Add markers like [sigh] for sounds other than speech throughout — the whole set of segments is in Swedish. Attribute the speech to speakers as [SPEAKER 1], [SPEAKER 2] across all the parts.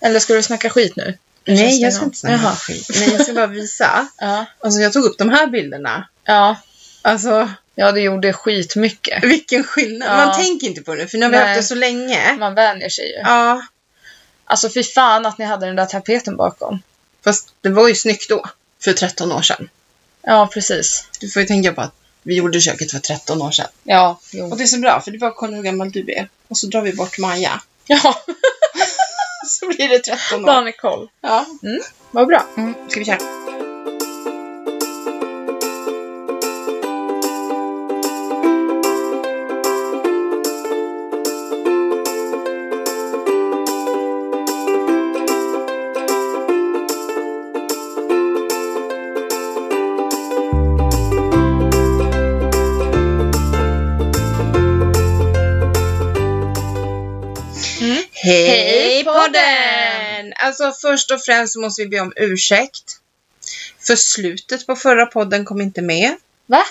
[SPEAKER 1] Eller ska du snacka skit nu?
[SPEAKER 2] Nej,
[SPEAKER 1] Känns det
[SPEAKER 2] jag ska
[SPEAKER 1] bra?
[SPEAKER 2] inte snacka
[SPEAKER 1] Jaha.
[SPEAKER 2] skit. Men jag ska bara visa.
[SPEAKER 1] Ja.
[SPEAKER 2] Alltså jag tog upp de här bilderna.
[SPEAKER 1] Ja.
[SPEAKER 2] Alltså
[SPEAKER 1] ja, det gjorde skitmycket.
[SPEAKER 2] vilken skillnad.
[SPEAKER 1] Ja.
[SPEAKER 2] Man tänker inte på det för nu har vi
[SPEAKER 1] Nej.
[SPEAKER 2] haft det så länge.
[SPEAKER 1] Man vänjer sig ju.
[SPEAKER 2] Ja,
[SPEAKER 1] Alltså fy fan att ni hade den där tapeten bakom.
[SPEAKER 2] fast det var ju snyggt då. För 13 år sedan.
[SPEAKER 1] Ja, precis.
[SPEAKER 2] Du får ju tänka på att vi gjorde köket för 13 år sedan.
[SPEAKER 1] Ja, jo.
[SPEAKER 2] Och det är så bra för du bara kollar hur gammal du är. Och så drar vi bort Maja.
[SPEAKER 1] [laughs]
[SPEAKER 2] [laughs]
[SPEAKER 1] Ja,
[SPEAKER 2] Så blir det 13 år.
[SPEAKER 1] bara Nicole.
[SPEAKER 2] Ja.
[SPEAKER 1] Vad bra.
[SPEAKER 2] Mm. Ska vi köra?
[SPEAKER 1] Mm.
[SPEAKER 2] Hej
[SPEAKER 1] Hej
[SPEAKER 2] podden! Alltså först och främst måste vi be om ursäkt. För slutet på förra podden kom inte med.
[SPEAKER 1] Va?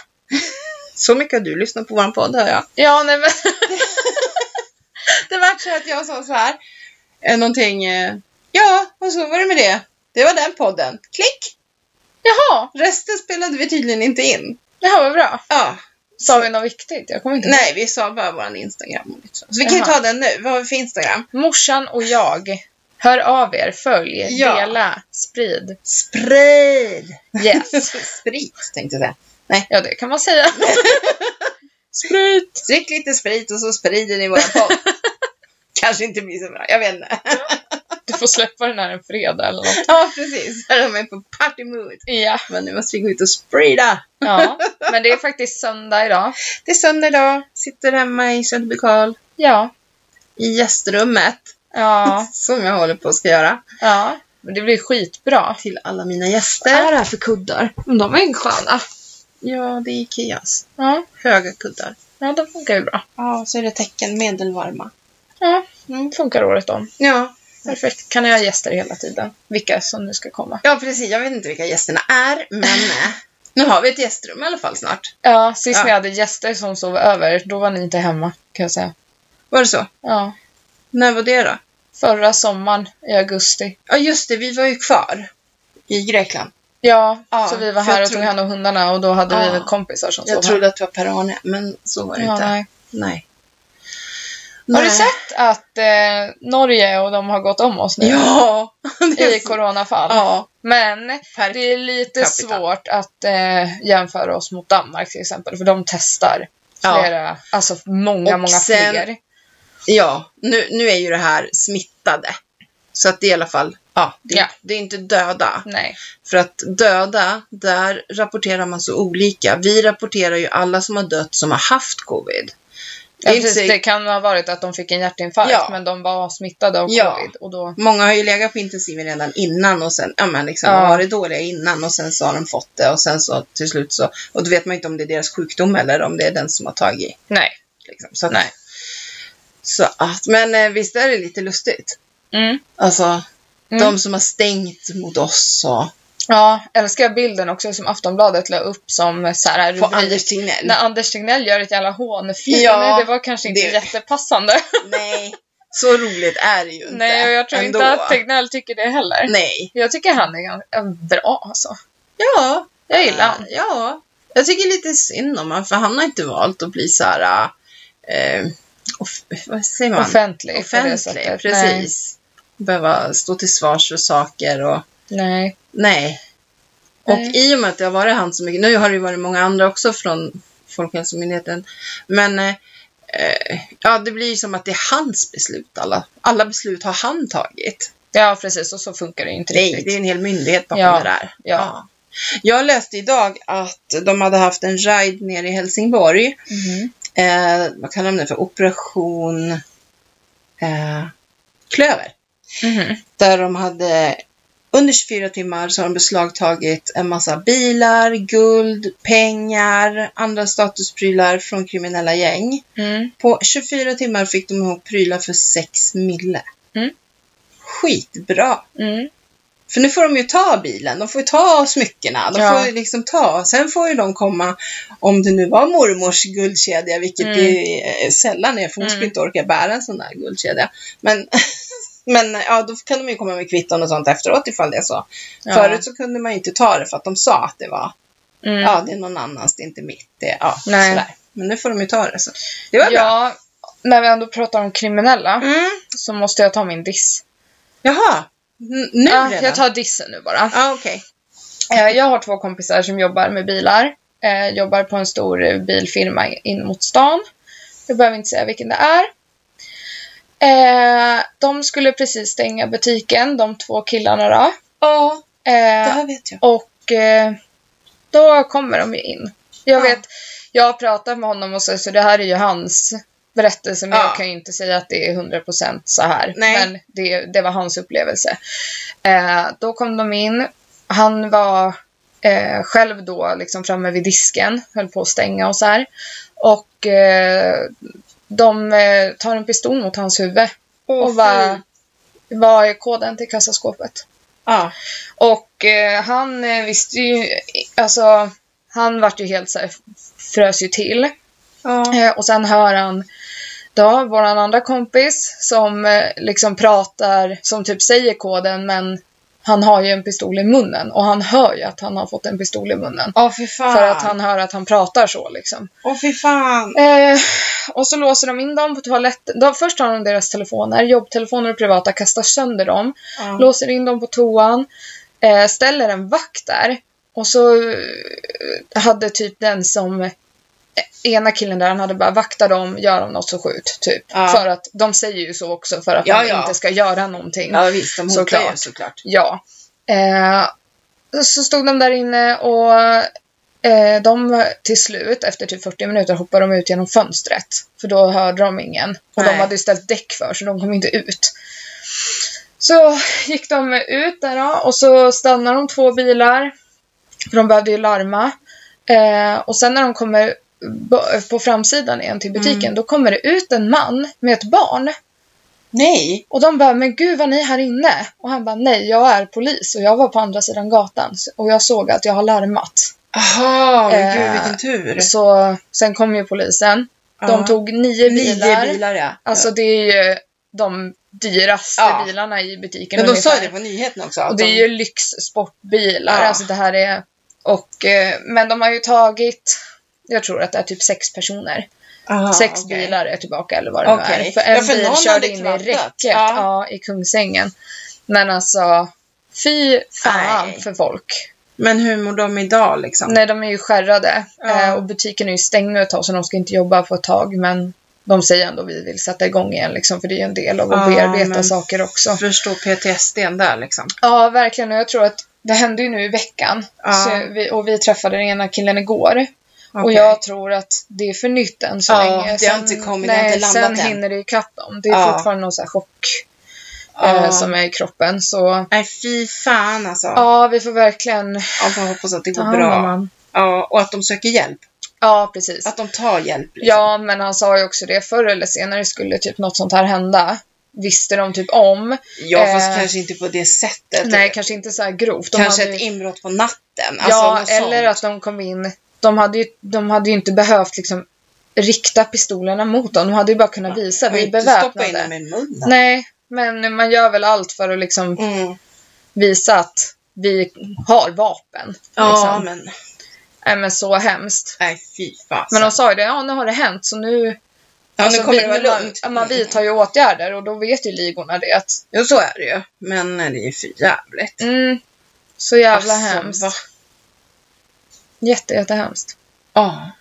[SPEAKER 2] Så mycket har du lyssnat på vår podd hör jag.
[SPEAKER 1] Ja, nej men. [laughs]
[SPEAKER 2] Det var så att jag sa så här. eh, Någonting. eh, Ja, och så var det med det. Det var den podden. Klick!
[SPEAKER 1] Jaha,
[SPEAKER 2] Resten spelade vi tydligen inte in.
[SPEAKER 1] jaha vad bra.
[SPEAKER 2] Ja.
[SPEAKER 1] Sa vi något viktigt? Jag kommer inte ihåg.
[SPEAKER 2] Nej, vi sa bara vår Instagram. och lite Så Så vi kan ju
[SPEAKER 1] Jaha.
[SPEAKER 2] ta den nu. Vad har vi för Instagram?
[SPEAKER 1] Morsan och jag. Hör av er, följ,
[SPEAKER 2] Ja.
[SPEAKER 1] dela, sprid.
[SPEAKER 2] Sprid! [laughs]
[SPEAKER 1] Yes.
[SPEAKER 2] sprit tänkte jag säga.
[SPEAKER 1] Ja, det kan man
[SPEAKER 2] [laughs]
[SPEAKER 1] säga. Sprit!
[SPEAKER 2] Drick lite sprit och så sprider ni våran podd. [laughs] Kanske inte blir så bra, jag vet [laughs] inte.
[SPEAKER 1] Du får släppa den här en fredag eller något.
[SPEAKER 2] Ja, precis. Här har man på party mood.
[SPEAKER 1] Ja.
[SPEAKER 2] Men nu måste vi gå ut och sprida.
[SPEAKER 1] ja. Men det är faktiskt söndag idag.
[SPEAKER 2] Det är söndag idag. Sitter hemma i Söderby Karl
[SPEAKER 1] Ja.
[SPEAKER 2] i gästrummet.
[SPEAKER 1] Ja.
[SPEAKER 2] Som jag håller på att ska göra.
[SPEAKER 1] Ja. Men det blir skitbra.
[SPEAKER 2] Till alla mina gäster.
[SPEAKER 1] det här för kuddar? De är ju sköna.
[SPEAKER 2] Ja, det är Ikeas.
[SPEAKER 1] Ja.
[SPEAKER 2] Höga kuddar.
[SPEAKER 1] ja, de funkar ju bra.
[SPEAKER 2] Ja, så är det tecken medelvarma.
[SPEAKER 1] Ja,
[SPEAKER 2] Mm.
[SPEAKER 1] de funkar året om.
[SPEAKER 2] Ja.
[SPEAKER 1] Perfekt. Kan jag ha gäster hela tiden? Vilka som nu ska komma.
[SPEAKER 2] ja, precis. Jag vet inte vilka gästerna är, men [laughs] eh, nu har vi ett gästrum i alla fall snart.
[SPEAKER 1] Ja, sist
[SPEAKER 2] Ja.
[SPEAKER 1] när jag hade gäster som sov över, då var ni inte hemma kan jag säga.
[SPEAKER 2] Var det så?
[SPEAKER 1] Ja.
[SPEAKER 2] När var det då?
[SPEAKER 1] Förra sommaren i augusti.
[SPEAKER 2] Ja, just det. Vi var ju kvar i Grekland.
[SPEAKER 1] Ja,
[SPEAKER 2] Ja,
[SPEAKER 1] så vi var
[SPEAKER 2] för jag
[SPEAKER 1] här och
[SPEAKER 2] trodde-
[SPEAKER 1] tog hand om hundarna och då hade
[SPEAKER 2] Ja.
[SPEAKER 1] vi väl kompisar som
[SPEAKER 2] Jag
[SPEAKER 1] sov här.
[SPEAKER 2] trodde att det var Per-Arne, men så var det
[SPEAKER 1] Ja,
[SPEAKER 2] inte.
[SPEAKER 1] nej.
[SPEAKER 2] Nej.
[SPEAKER 1] Har
[SPEAKER 2] Nej.
[SPEAKER 1] du sett att eh, Norge och de har gått om oss nu?
[SPEAKER 2] Ja! [laughs] Det är
[SPEAKER 1] I
[SPEAKER 2] så-
[SPEAKER 1] coronafall.
[SPEAKER 2] Ja.
[SPEAKER 1] Men
[SPEAKER 2] Per-
[SPEAKER 1] det är lite
[SPEAKER 2] capita.
[SPEAKER 1] svårt att eh, jämföra oss mot Danmark till exempel, för de testar
[SPEAKER 2] Ja.
[SPEAKER 1] flera, alltså många,
[SPEAKER 2] Och
[SPEAKER 1] många
[SPEAKER 2] sen-
[SPEAKER 1] fler.
[SPEAKER 2] ja, nu, nu är ju det här smittade. Så att det är i alla fall, ja, det,
[SPEAKER 1] Ja.
[SPEAKER 2] det är inte döda.
[SPEAKER 1] Nej.
[SPEAKER 2] För att döda, där rapporterar man så olika. Vi rapporterar ju alla som har dött som har haft covid.
[SPEAKER 1] Ja,
[SPEAKER 2] Det är inte
[SPEAKER 1] precis,
[SPEAKER 2] så-
[SPEAKER 1] det kan ha varit att de fick en hjärtinfarkt,
[SPEAKER 2] Ja.
[SPEAKER 1] men de var smittade av
[SPEAKER 2] Ja.
[SPEAKER 1] covid. Och då,
[SPEAKER 2] Många har ju legat på intensiven redan innan och sen, ja men liksom
[SPEAKER 1] Ja.
[SPEAKER 2] varit dåliga innan och sen så har de fått det och sen så till slut så, och då vet man ju inte om det är deras sjukdom eller om det är den som har tagit.
[SPEAKER 1] nej.
[SPEAKER 2] Liksom. Så att,
[SPEAKER 1] Nej.
[SPEAKER 2] Så att, men eh, visst är det lite lustigt?
[SPEAKER 1] Mm.
[SPEAKER 2] Alltså,
[SPEAKER 1] Mm.
[SPEAKER 2] de som har stängt mot oss och
[SPEAKER 1] Ja, älskar bilden också som Aftonbladet la upp som så här,
[SPEAKER 2] på
[SPEAKER 1] rubrik.
[SPEAKER 2] Anders Tegnell.
[SPEAKER 1] När Anders Tegnell gör ett jävla hånflin.
[SPEAKER 2] Ja,
[SPEAKER 1] det var kanske inte
[SPEAKER 2] det-
[SPEAKER 1] jättepassande.
[SPEAKER 2] [laughs] Nej, så roligt är det ju inte.
[SPEAKER 1] Nej, och jag tror
[SPEAKER 2] ändå.
[SPEAKER 1] inte att Tegnell tycker det heller.
[SPEAKER 2] Nej.
[SPEAKER 1] Jag tycker han är ganska bra alltså.
[SPEAKER 2] Ja,
[SPEAKER 1] Jag gillar han.
[SPEAKER 2] Ja. Jag tycker lite synd om honom, för han har inte valt att bli så här... Eh, off, vad säger man?
[SPEAKER 1] Offentlig. på det
[SPEAKER 2] Offentlig,
[SPEAKER 1] sättet.
[SPEAKER 2] precis. Behöva stå till svars för saker och...
[SPEAKER 1] Nej. Nej.
[SPEAKER 2] Nej. Och
[SPEAKER 1] Nej.
[SPEAKER 2] i och med att det har varit han så mycket, nu har det ju varit många andra också från Folkhälsomyndigheten, men eh, eh, ja, det blir ju som att det är hans beslut. Alla, alla beslut har han tagit.
[SPEAKER 1] Ja, precis. Och så funkar det ju inte
[SPEAKER 2] Nej,
[SPEAKER 1] riktigt.
[SPEAKER 2] det är en hel myndighet bakom
[SPEAKER 1] Ja,
[SPEAKER 2] det där.
[SPEAKER 1] ja.
[SPEAKER 2] Jag läste idag att de hade haft en ride nere i Helsingborg.
[SPEAKER 1] Mhm.
[SPEAKER 2] Eh, vad kallar de det för? Operation eh, Klöver.
[SPEAKER 1] Mhm.
[SPEAKER 2] Där de hade under 24 timmar så har de beslagtagit en massa bilar, guld, pengar, andra statusprylar från kriminella gäng.
[SPEAKER 1] Mm.
[SPEAKER 2] På 24 timmar fick de ihop prylar för 6 mille.
[SPEAKER 1] Mm.
[SPEAKER 2] Skitbra!
[SPEAKER 1] Mm.
[SPEAKER 2] För nu får de ju ta bilen, de får ju ta smyckena, de
[SPEAKER 1] Ja.
[SPEAKER 2] får ju liksom ta. Sen får ju de komma, om det nu var mormors guldkedja, vilket
[SPEAKER 1] Mm.
[SPEAKER 2] det är, eh, sällan är, för hon skulle
[SPEAKER 1] Mm.
[SPEAKER 2] inte orka bära en sån där guldkedja. Men [laughs] Men eh, ja, då kan de ju komma med kvitton och sånt efteråt ifall det är så.
[SPEAKER 1] Ja.
[SPEAKER 2] Förut så kunde man ju inte ta det för att de sa att det var,
[SPEAKER 1] Mm.
[SPEAKER 2] ja det är någon annans, det är inte mitt. Det, är- ja,
[SPEAKER 1] Nej.
[SPEAKER 2] sådär. Men nu får de ju ta det. Så. Det var bra.
[SPEAKER 1] ja, när vi ändå pratar om kriminella
[SPEAKER 2] Mm.
[SPEAKER 1] så måste jag ta min diss.
[SPEAKER 2] Jaha, N- nu
[SPEAKER 1] Ja,
[SPEAKER 2] redan?
[SPEAKER 1] jag tar dissen nu bara.
[SPEAKER 2] Ja, okej.
[SPEAKER 1] Eh, Jag har två kompisar som jobbar med bilar. Eh, Jobbar på en stor eh, bilfirma in mot stan. Jag behöver inte säga vilken det är. Eh, De skulle precis stänga butiken, de två killarna då.
[SPEAKER 2] Ja,
[SPEAKER 1] Eh,
[SPEAKER 2] det här vet jag.
[SPEAKER 1] Och eh, då kommer de ju in. Jag
[SPEAKER 2] Ja.
[SPEAKER 1] vet, jag har pratat med honom och så, så det här är ju hans berättelse men
[SPEAKER 2] Ja.
[SPEAKER 1] jag kan ju inte säga att det är 100% så här.
[SPEAKER 2] Nej.
[SPEAKER 1] Men det, det var hans upplevelse. Eh, då kom de in. Han var eh, själv då liksom framme vid disken, höll på att stänga och så här. Och eh, de eh, tar en pistol mot hans huvud.
[SPEAKER 2] Åh,
[SPEAKER 1] och vad,
[SPEAKER 2] fy.
[SPEAKER 1] vad är koden till kassaskåpet?
[SPEAKER 2] Ja,
[SPEAKER 1] Och eh, han eh, visste ju, alltså han vart ju helt såhär, frös ju till.
[SPEAKER 2] ja.
[SPEAKER 1] Eh, och sen hör han då våran andra kompis som eh, liksom pratar, som typ säger koden men han har ju en pistol i munnen och han hör ju att han har fått en pistol i munnen.
[SPEAKER 2] Åh, fy fan.
[SPEAKER 1] För att han hör att han pratar så liksom.
[SPEAKER 2] Åh, fy fan.
[SPEAKER 1] Eh, och så låser de in dem på toaletten. De, först tar de deras telefoner, jobbtelefoner och privata, kastar sönder dem.
[SPEAKER 2] Ja.
[SPEAKER 1] Låser in dem på toan. Eh, ställer en vakt där. Och så eh, hade typ den som eh, ena killen där, han hade bara vakta dem, gör de något så skjut. Typ.
[SPEAKER 2] Ja.
[SPEAKER 1] För att de säger ju så också för att
[SPEAKER 2] Ja,
[SPEAKER 1] man
[SPEAKER 2] ja.
[SPEAKER 1] inte ska göra någonting.
[SPEAKER 2] ja, visst. De hotar
[SPEAKER 1] Såklart.
[SPEAKER 2] ju såklart.
[SPEAKER 1] Ja. Eh, så stod de där inne och eh, de till slut, efter typ 40 minuter, hoppade de ut genom fönstret. För då hörde de ingen. Och
[SPEAKER 2] Nej.
[SPEAKER 1] de hade ju ställt däck för så de kom inte ut. Så gick de ut där då, och så stannade de två bilar. För de behövde ju larma. Eh, och sen när de kommer b- på framsidan igen till butiken,
[SPEAKER 2] Mm.
[SPEAKER 1] då kommer det ut en man med ett barn.
[SPEAKER 2] Nej.
[SPEAKER 1] Och de bara, men gud vad ni är här inne. Och han bara, nej jag är polis och jag var på andra sidan gatan så- och jag såg att jag har larmat.
[SPEAKER 2] Jaha, men
[SPEAKER 1] Eh,
[SPEAKER 2] gud vilken tur.
[SPEAKER 1] Så sen kom ju polisen. De
[SPEAKER 2] Ja.
[SPEAKER 1] tog nio
[SPEAKER 2] Nio
[SPEAKER 1] bilar.
[SPEAKER 2] bilar ja.
[SPEAKER 1] Alltså det är ju de dyraste
[SPEAKER 2] Ja.
[SPEAKER 1] bilarna i butiken
[SPEAKER 2] men de sa ju
[SPEAKER 1] ungefär.
[SPEAKER 2] det på nyheten också.
[SPEAKER 1] Och
[SPEAKER 2] att
[SPEAKER 1] det
[SPEAKER 2] de-
[SPEAKER 1] är ju lyxsportbilar.
[SPEAKER 2] Ja.
[SPEAKER 1] Alltså det här är... Och, eh, men de har ju tagit, jag tror att det är typ sex personer.
[SPEAKER 2] Aha,
[SPEAKER 1] Sex
[SPEAKER 2] okej.
[SPEAKER 1] bilar är tillbaka eller vad det nu
[SPEAKER 2] Okej.
[SPEAKER 1] är. För en
[SPEAKER 2] Ja, för någon
[SPEAKER 1] bil
[SPEAKER 2] hade
[SPEAKER 1] körde in i
[SPEAKER 2] kladdat.
[SPEAKER 1] räcket
[SPEAKER 2] Ja.
[SPEAKER 1] ja, i Kungsängen. Men alltså, fy fan
[SPEAKER 2] Nej.
[SPEAKER 1] för folk.
[SPEAKER 2] Men hur mår de idag liksom?
[SPEAKER 1] Nej, de är ju skärrade.
[SPEAKER 2] Ja.
[SPEAKER 1] Eh, och butiken är ju stängd nu ett tag så de ska inte jobba på ett tag. Men de säger ändå vi vill sätta igång igen liksom, för det är ju en del av att
[SPEAKER 2] Ja,
[SPEAKER 1] bearbeta
[SPEAKER 2] Ah, men-
[SPEAKER 1] saker också.
[SPEAKER 2] Förstå PTSDn där liksom.
[SPEAKER 1] Ja, verkligen. Och jag tror att det hände ju nu i veckan.
[SPEAKER 2] Ja.
[SPEAKER 1] Så vi, och vi träffade den ena killen igår. Och
[SPEAKER 2] Okej.
[SPEAKER 1] jag tror att det är för nytt än så
[SPEAKER 2] Ja,
[SPEAKER 1] länge.
[SPEAKER 2] det har inte kommit, det har
[SPEAKER 1] nej,
[SPEAKER 2] inte landat
[SPEAKER 1] sen
[SPEAKER 2] än.
[SPEAKER 1] hinner det ikapp dem. Det är
[SPEAKER 2] Ja.
[SPEAKER 1] fortfarande någon så här chock
[SPEAKER 2] Ja.
[SPEAKER 1] eh, som är i kroppen. Så
[SPEAKER 2] Nej, fy fan alltså. Ja.
[SPEAKER 1] ja, vi får verkligen
[SPEAKER 2] Jag får hoppas att det
[SPEAKER 1] ta
[SPEAKER 2] går
[SPEAKER 1] hand om
[SPEAKER 2] bra.
[SPEAKER 1] honom.
[SPEAKER 2] Ja, och att de söker hjälp.
[SPEAKER 1] Ja, precis.
[SPEAKER 2] Att de tar hjälp. Liksom.
[SPEAKER 1] Ja, men han sa ju också det. Förr eller senare skulle typ något sånt här hända. Visste de typ om.
[SPEAKER 2] ja fast
[SPEAKER 1] eh,
[SPEAKER 2] kanske inte på det sättet.
[SPEAKER 1] Nej, kanske inte så här grovt. De
[SPEAKER 2] Kanske
[SPEAKER 1] hade
[SPEAKER 2] ett
[SPEAKER 1] ju-
[SPEAKER 2] inbrott på natten. Alltså,
[SPEAKER 1] Ja,
[SPEAKER 2] något
[SPEAKER 1] eller
[SPEAKER 2] sånt.
[SPEAKER 1] att de kom in. De hade ju, de hade ju inte behövt liksom rikta pistolerna mot dem. De hade ju bara kunnat visa.
[SPEAKER 2] Och
[SPEAKER 1] Vi är
[SPEAKER 2] inte stoppa in dem
[SPEAKER 1] beväpnade.
[SPEAKER 2] i munnen.
[SPEAKER 1] Nej, men man gör väl allt för att liksom
[SPEAKER 2] Mm.
[SPEAKER 1] visa att vi har vapen.
[SPEAKER 2] Ja,
[SPEAKER 1] liksom.
[SPEAKER 2] men
[SPEAKER 1] Nej, men så hemskt.
[SPEAKER 2] nej, fy fan.
[SPEAKER 1] Men de sa ju det, ja nu har det hänt så nu...
[SPEAKER 2] ja,
[SPEAKER 1] alltså,
[SPEAKER 2] nu kommer
[SPEAKER 1] vi,
[SPEAKER 2] det vara lugnt.
[SPEAKER 1] Man, man vidtar ju åtgärder och då vet ju ligorna det att
[SPEAKER 2] Jo, så är det ju. Men det är ju för jävligt.
[SPEAKER 1] Mm. Så jävla
[SPEAKER 2] Alltså,
[SPEAKER 1] hemskt.
[SPEAKER 2] va?
[SPEAKER 1] Jätte, jättehemskt.
[SPEAKER 2] Ja.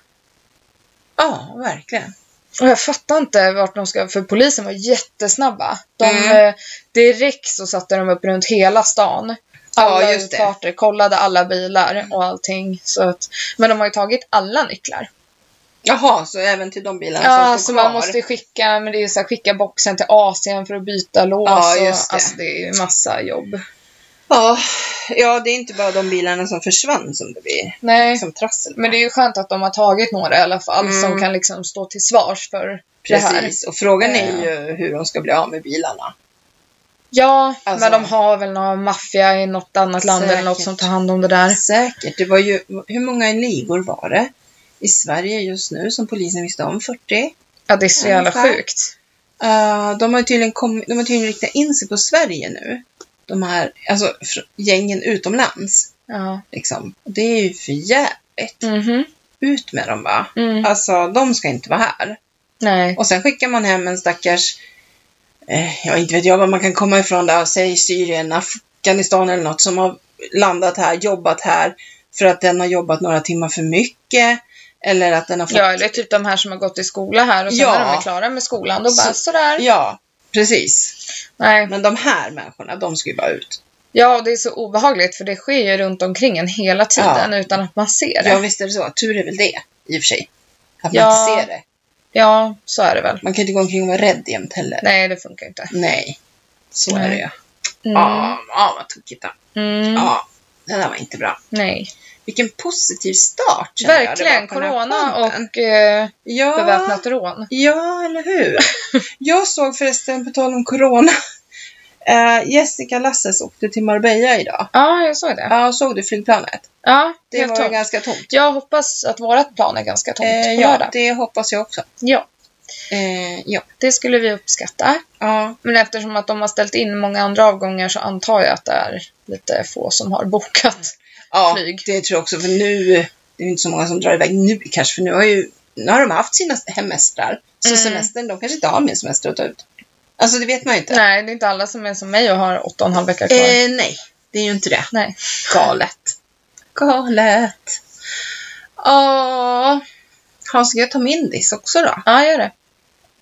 [SPEAKER 2] Ja, verkligen.
[SPEAKER 1] Och jag fattar inte vart de ska, för polisen var jättesnabba. De,
[SPEAKER 2] Mm.
[SPEAKER 1] eh, direkt så satte de upp runt hela stan.
[SPEAKER 2] Ja,
[SPEAKER 1] Alla
[SPEAKER 2] just det. Mm.
[SPEAKER 1] utfarter, kollade alla bilar och allting. Så att, men de har ju tagit alla nycklar.
[SPEAKER 2] Jaha, så även till de bilarna
[SPEAKER 1] Ja,
[SPEAKER 2] som
[SPEAKER 1] så
[SPEAKER 2] står
[SPEAKER 1] man
[SPEAKER 2] kvar?
[SPEAKER 1] måste skicka, men det är så här, skicka boxen till Asien för att byta lås.
[SPEAKER 2] Ja,
[SPEAKER 1] och-
[SPEAKER 2] just det.
[SPEAKER 1] Alltså det är ju massa jobb.
[SPEAKER 2] Ja, ja, det är inte bara de bilarna som försvann som det blir
[SPEAKER 1] Nej,
[SPEAKER 2] som trassel.
[SPEAKER 1] men det är ju skönt att de har tagit några i alla fall
[SPEAKER 2] Mm.
[SPEAKER 1] som kan liksom stå till svars för det här.
[SPEAKER 2] Precis, och frågan är ju hur de ska bli av med bilarna.
[SPEAKER 1] Ja,
[SPEAKER 2] Alltså-
[SPEAKER 1] men de har väl någon maffia i något annat land eller något
[SPEAKER 2] Säkert.
[SPEAKER 1] som tar hand om det där.
[SPEAKER 2] Säkert, det var ju, hur många ligor var det i Sverige just nu som polisen visste om? 40?
[SPEAKER 1] Ja, det är så jävla
[SPEAKER 2] Ungefär.
[SPEAKER 1] sjukt.
[SPEAKER 2] Eh, de har ju tydligen, kommit, de har tydligen riktat in sig på Sverige nu. De här alltså, fr- gängen utomlands.
[SPEAKER 1] Ja.
[SPEAKER 2] Liksom. Det är ju för jävligt.
[SPEAKER 1] Mhm.
[SPEAKER 2] Ut med dem bara.
[SPEAKER 1] Mm.
[SPEAKER 2] Alltså, de ska inte vara här.
[SPEAKER 1] Nej.
[SPEAKER 2] Och sen skickar man hem en stackars, eh, jag inte vet jag var man kan komma ifrån där, säg Syrien, Afghanistan eller något, som har landat här, jobbat här för att den har jobbat några timmar för mycket. Eller att den har fått...
[SPEAKER 1] Ja, eller typ de här som har gått i skola här och sen
[SPEAKER 2] Ja.
[SPEAKER 1] när de är klara med skolan, då bara
[SPEAKER 2] Så-
[SPEAKER 1] sådär.
[SPEAKER 2] Ja, precis.
[SPEAKER 1] Nej.
[SPEAKER 2] Men de här människorna, de ska ju bara ut.
[SPEAKER 1] Ja, och det är så obehagligt för det sker ju runt omkring en hela tiden utan att man ser det.
[SPEAKER 2] Ja,
[SPEAKER 1] Ja.
[SPEAKER 2] visst är det så. Tur är väl det, i och för sig. Att man
[SPEAKER 1] Ja.
[SPEAKER 2] inte ser det.
[SPEAKER 1] så är det väl.
[SPEAKER 2] Man kan ju inte gå omkring och vara rädd jämt heller.
[SPEAKER 1] Nej, det funkar inte.
[SPEAKER 2] Nej, så
[SPEAKER 1] Nej.
[SPEAKER 2] är det ju.
[SPEAKER 1] Mm.
[SPEAKER 2] Ja, ja, vad tokigt. då.
[SPEAKER 1] Mm.
[SPEAKER 2] Ja, det där var inte bra.
[SPEAKER 1] Nej. Vilken
[SPEAKER 2] positiv start. känner jag. Det
[SPEAKER 1] Verkligen,
[SPEAKER 2] var på den här
[SPEAKER 1] corona
[SPEAKER 2] podden.
[SPEAKER 1] och eh,
[SPEAKER 2] ja,
[SPEAKER 1] beväpnat rån.
[SPEAKER 2] Ja,
[SPEAKER 1] [laughs]
[SPEAKER 2] eller hur? jag såg förresten, på tal om corona, eh, Jessica Lasses åkte till Marbella idag.
[SPEAKER 1] Ja, jag såg det.
[SPEAKER 2] Ja, såg du flygplanet?
[SPEAKER 1] Ja,
[SPEAKER 2] Det
[SPEAKER 1] helt
[SPEAKER 2] var
[SPEAKER 1] tomt.
[SPEAKER 2] ganska tomt.
[SPEAKER 1] Jag hoppas att vårt plan är ganska tomt
[SPEAKER 2] Eh,
[SPEAKER 1] på
[SPEAKER 2] ja,
[SPEAKER 1] lördag.
[SPEAKER 2] det hoppas jag också.
[SPEAKER 1] Ja,
[SPEAKER 2] Eh, ja.
[SPEAKER 1] det skulle vi uppskatta.
[SPEAKER 2] ja,
[SPEAKER 1] Men eftersom att de har ställt in många andra avgångar så antar jag att det är lite få som har bokat.
[SPEAKER 2] ja
[SPEAKER 1] Flyg.
[SPEAKER 2] det tror jag också. För nu, det är ju inte så många som drar iväg nu kanske, för nu har, ju, nu har de haft sina semestrar. Så
[SPEAKER 1] Mm.
[SPEAKER 2] semestern, de kanske inte har mer semester att ta ut. Alltså, det vet man ju inte.
[SPEAKER 1] Nej, det är inte alla som är som mig och har åtta och en halv vecka kvar.
[SPEAKER 2] Eh, nej, det är ju inte det.
[SPEAKER 1] Nej.
[SPEAKER 2] Galet. Galet. Ja. Ja, ska jag ta min diss också då?
[SPEAKER 1] Ja, gör det.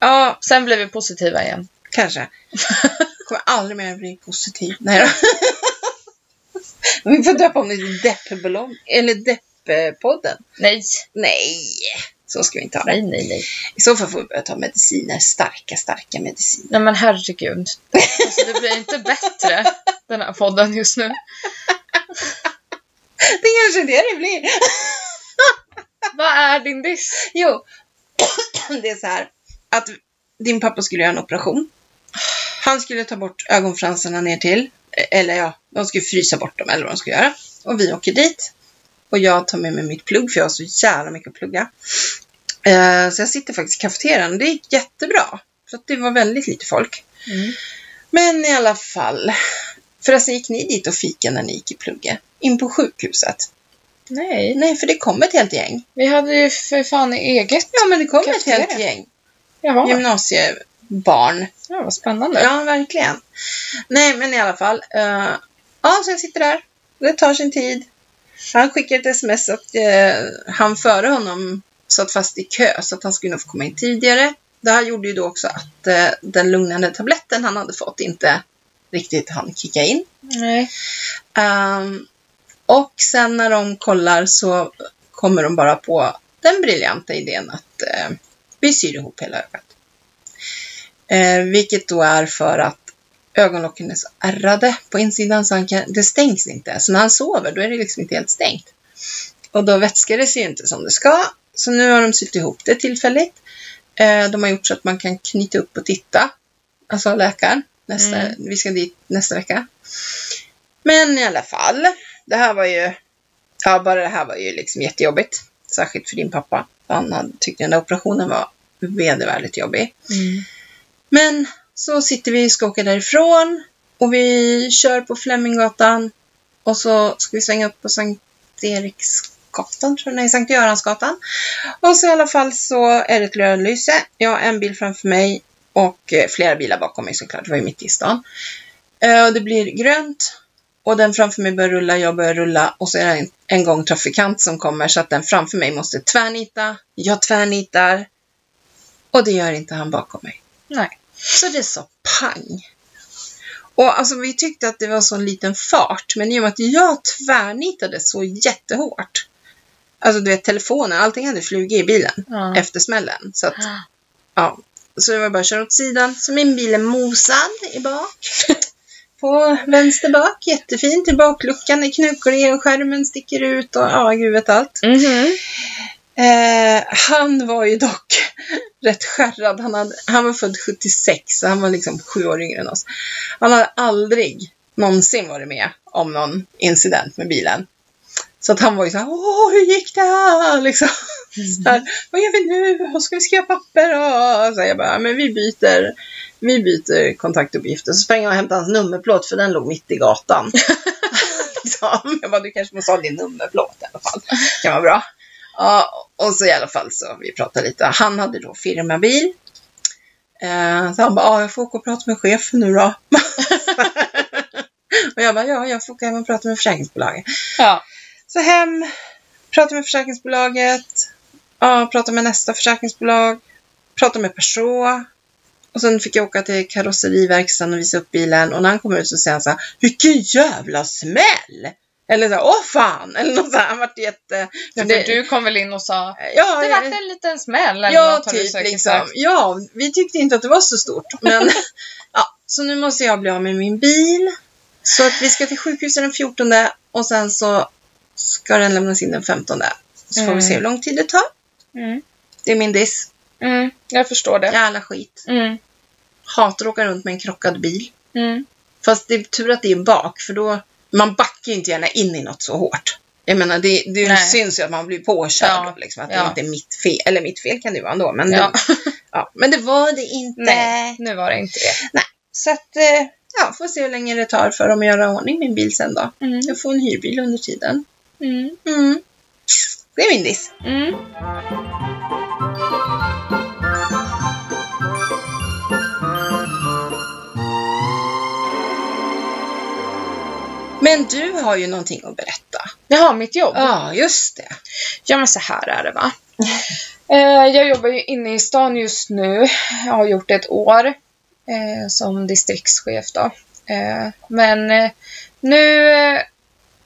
[SPEAKER 2] Ja,
[SPEAKER 1] Sen blir vi positiva igen.
[SPEAKER 2] kanske. Kommer aldrig mer bli positiv. Nej då. [laughs] Vi får döpa om det till Deppblogg, eller Depppodden.
[SPEAKER 1] Nej,
[SPEAKER 2] Nej, så ska vi inte ha det.
[SPEAKER 1] nej, nej, nej.
[SPEAKER 2] I så fall får vi börja ta mediciner. Starka, starka mediciner.
[SPEAKER 1] Nej men herregud. Alltså, det blir inte bättre, den här podden just nu.
[SPEAKER 2] Det är kanske det det blir.
[SPEAKER 1] Vad är din diss?
[SPEAKER 2] Jo, [clears throat] det är så här att din pappa skulle göra en operation. Han skulle ta bort ögonfransarna ner till. Eller ja, de skulle frysa bort dem eller vad de skulle göra. Och vi åker dit. Och jag tar med mig mitt plugg för jag har så jävla mycket att plugga. Eh, Så jag sitter faktiskt i kafeterian och det gick jättebra. För att det var väldigt lite folk.
[SPEAKER 1] Mm.
[SPEAKER 2] Men i alla fall. Förresten, gick ni dit och fika när ni gick i plugget? In på sjukhuset?
[SPEAKER 1] Nej,
[SPEAKER 2] Nej, för det kom ett helt gäng.
[SPEAKER 1] vi hade ju för fan eget.
[SPEAKER 2] Ja, men det kom ett
[SPEAKER 1] Kafeteria.
[SPEAKER 2] helt gäng.
[SPEAKER 1] Jaha,
[SPEAKER 2] Gymnasiebarn.
[SPEAKER 1] ja, vad spännande.
[SPEAKER 2] Ja, verkligen. Nej, men i alla fall. eh, ja, så jag sitter där. Det tar sin tid. Han skickar ett sms att eh, han före honom satt fast i kö så att han skulle nog få komma in tidigare. Det här gjorde ju då också att eh, den lugnande tabletten han hade fått inte riktigt hann kicka in.
[SPEAKER 1] Nej.
[SPEAKER 2] Ehm, och sen när de kollar så kommer de bara på den briljanta idén att eh, vi syr ihop hela ögat. Eh, vilket då är för att ögonlocken är så ärrade på insidan så han kan, det stängs inte. Så när han sover då är det liksom inte helt stängt. Och då vätskar det sig ju inte som det ska. Så nu har de sytt ihop det tillfälligt. Eh, de har gjort så att man kan knyta upp och titta. Alltså läkaren. Nästa,
[SPEAKER 1] Mm.
[SPEAKER 2] Vi ska dit nästa vecka. Men i alla fall. Det här var ju, ja bara det här var ju liksom jättejobbigt. Särskilt för din pappa. Han hade, tyckte den där operationen var vedervärdigt jobbig.
[SPEAKER 1] Mm.
[SPEAKER 2] Men så sitter vi och ska åka därifrån och vi kör på Fleminggatan och så ska vi svänga upp på Sankt Eriksgatan, tror jag, nej, Sankt Göransgatan. Och så i alla fall så är det ett lönlyse. Jag har en bil framför mig och eh, flera bilar bakom mig såklart, det var ju mitt i stan. Eh, Och det blir grönt och den framför mig börjar rulla, jag börjar rulla och så är det en, en gång trafikant som kommer så att den framför mig måste tvärnita. Jag tvärnitar och det gör inte han bakom mig.
[SPEAKER 1] Nej.
[SPEAKER 2] Så det sa pang. Och alltså vi tyckte att det var så liten fart, men i och med att jag tvärnitade så jättehårt. Alltså du vet telefonen, allting hade flugit i bilen
[SPEAKER 1] Ja.
[SPEAKER 2] efter smällen. Så att, ja. Så det var bara att köra åt sidan. Så min bil är mosad i bak. [laughs] På vänster bak, jättefint. I bakluckan är knukor i och skärmen sticker ut och ja, gud vet allt.
[SPEAKER 1] Mhm.
[SPEAKER 2] Eh, han var ju dock [laughs] rätt skärrad. Han, hade, han var född 76, så han var liksom sju år yngre än oss. Han hade aldrig någonsin varit med om någon incident med bilen. Så att han var ju så här, [laughs] åh, hur gick det här? Liksom. Så här, Vad gör vi nu? Och ska vi skriva papper? Och så här, jag bara, men vi byter, vi byter kontaktuppgifter. Så sprang jag och hämtade hans nummerplåt för den låg mitt i gatan. [laughs] så, jag bara, du kanske måste ha din nummerplåt i alla fall. Det kan vara bra. Ja, och så i alla fall så vi pratade lite. Han hade då firmabil. Eh, så han bara, ja, jag får åka och prata med chefen nu då. [laughs] och jag bara, ja, jag får åka hem och prata med försäkringsbolaget.
[SPEAKER 1] Ja.
[SPEAKER 2] Så hem, prata med försäkringsbolaget, ja, prata med nästa försäkringsbolag, prata med Peugeot. Och sen fick jag åka till karosseriverkstaden och visa upp bilen och när han kommer ut så säger han så här, vilken jävla smäll! Eller så här, åh fan! Eller något så här, han vart jätte...
[SPEAKER 1] För
[SPEAKER 2] det-
[SPEAKER 1] du kom väl in och sa
[SPEAKER 2] ja,
[SPEAKER 1] det
[SPEAKER 2] jag-
[SPEAKER 1] vart en liten smäll eller
[SPEAKER 2] Ja,
[SPEAKER 1] något har du
[SPEAKER 2] typ
[SPEAKER 1] säkert
[SPEAKER 2] liksom.
[SPEAKER 1] sagt.
[SPEAKER 2] Ja, vi tyckte inte att det var så stort.
[SPEAKER 1] [laughs]
[SPEAKER 2] Men, ja, så nu måste jag bli av med min bil. Så att vi ska till sjukhuset den 14 och sen så ska den lämnas in den 15. Så får
[SPEAKER 1] Mm.
[SPEAKER 2] vi se hur lång tid det tar.
[SPEAKER 1] Mm.
[SPEAKER 2] Det är min diss.
[SPEAKER 1] Mm, jag förstår det.
[SPEAKER 2] Jävla skit.
[SPEAKER 1] Mm.
[SPEAKER 2] Hatar att åka runt med en krockad bil.
[SPEAKER 1] Mm.
[SPEAKER 2] Fast det är tur att det är bak, för då... Man backar ju inte gärna in i något så hårt. Jag menar, det, det
[SPEAKER 1] Nej.
[SPEAKER 2] syns ju att man blir påkörd.
[SPEAKER 1] Ja.
[SPEAKER 2] Liksom, att det
[SPEAKER 1] Ja.
[SPEAKER 2] inte är mitt fel. Eller mitt fel kan det ju vara ändå, men,
[SPEAKER 1] Ja.
[SPEAKER 2] det, ja, men det var det inte.
[SPEAKER 1] Nej, nu var det inte det.
[SPEAKER 2] Så att, eh, ja, får se hur länge det tar för dem att göra i ordning min bil sen då.
[SPEAKER 1] Mm.
[SPEAKER 2] Jag får en hyrbil under tiden.
[SPEAKER 1] Mm.
[SPEAKER 2] Mm. Det är min diss.
[SPEAKER 1] Mm.
[SPEAKER 2] Men du har ju någonting att berätta.
[SPEAKER 1] Jaha, mitt jobb.
[SPEAKER 2] Ja, just det.
[SPEAKER 1] Ja men så här är det va. [laughs] Eh, jag jobbar ju inne i stan just nu. Jag har gjort ett år eh, som distriktschef då. Eh, men eh, nu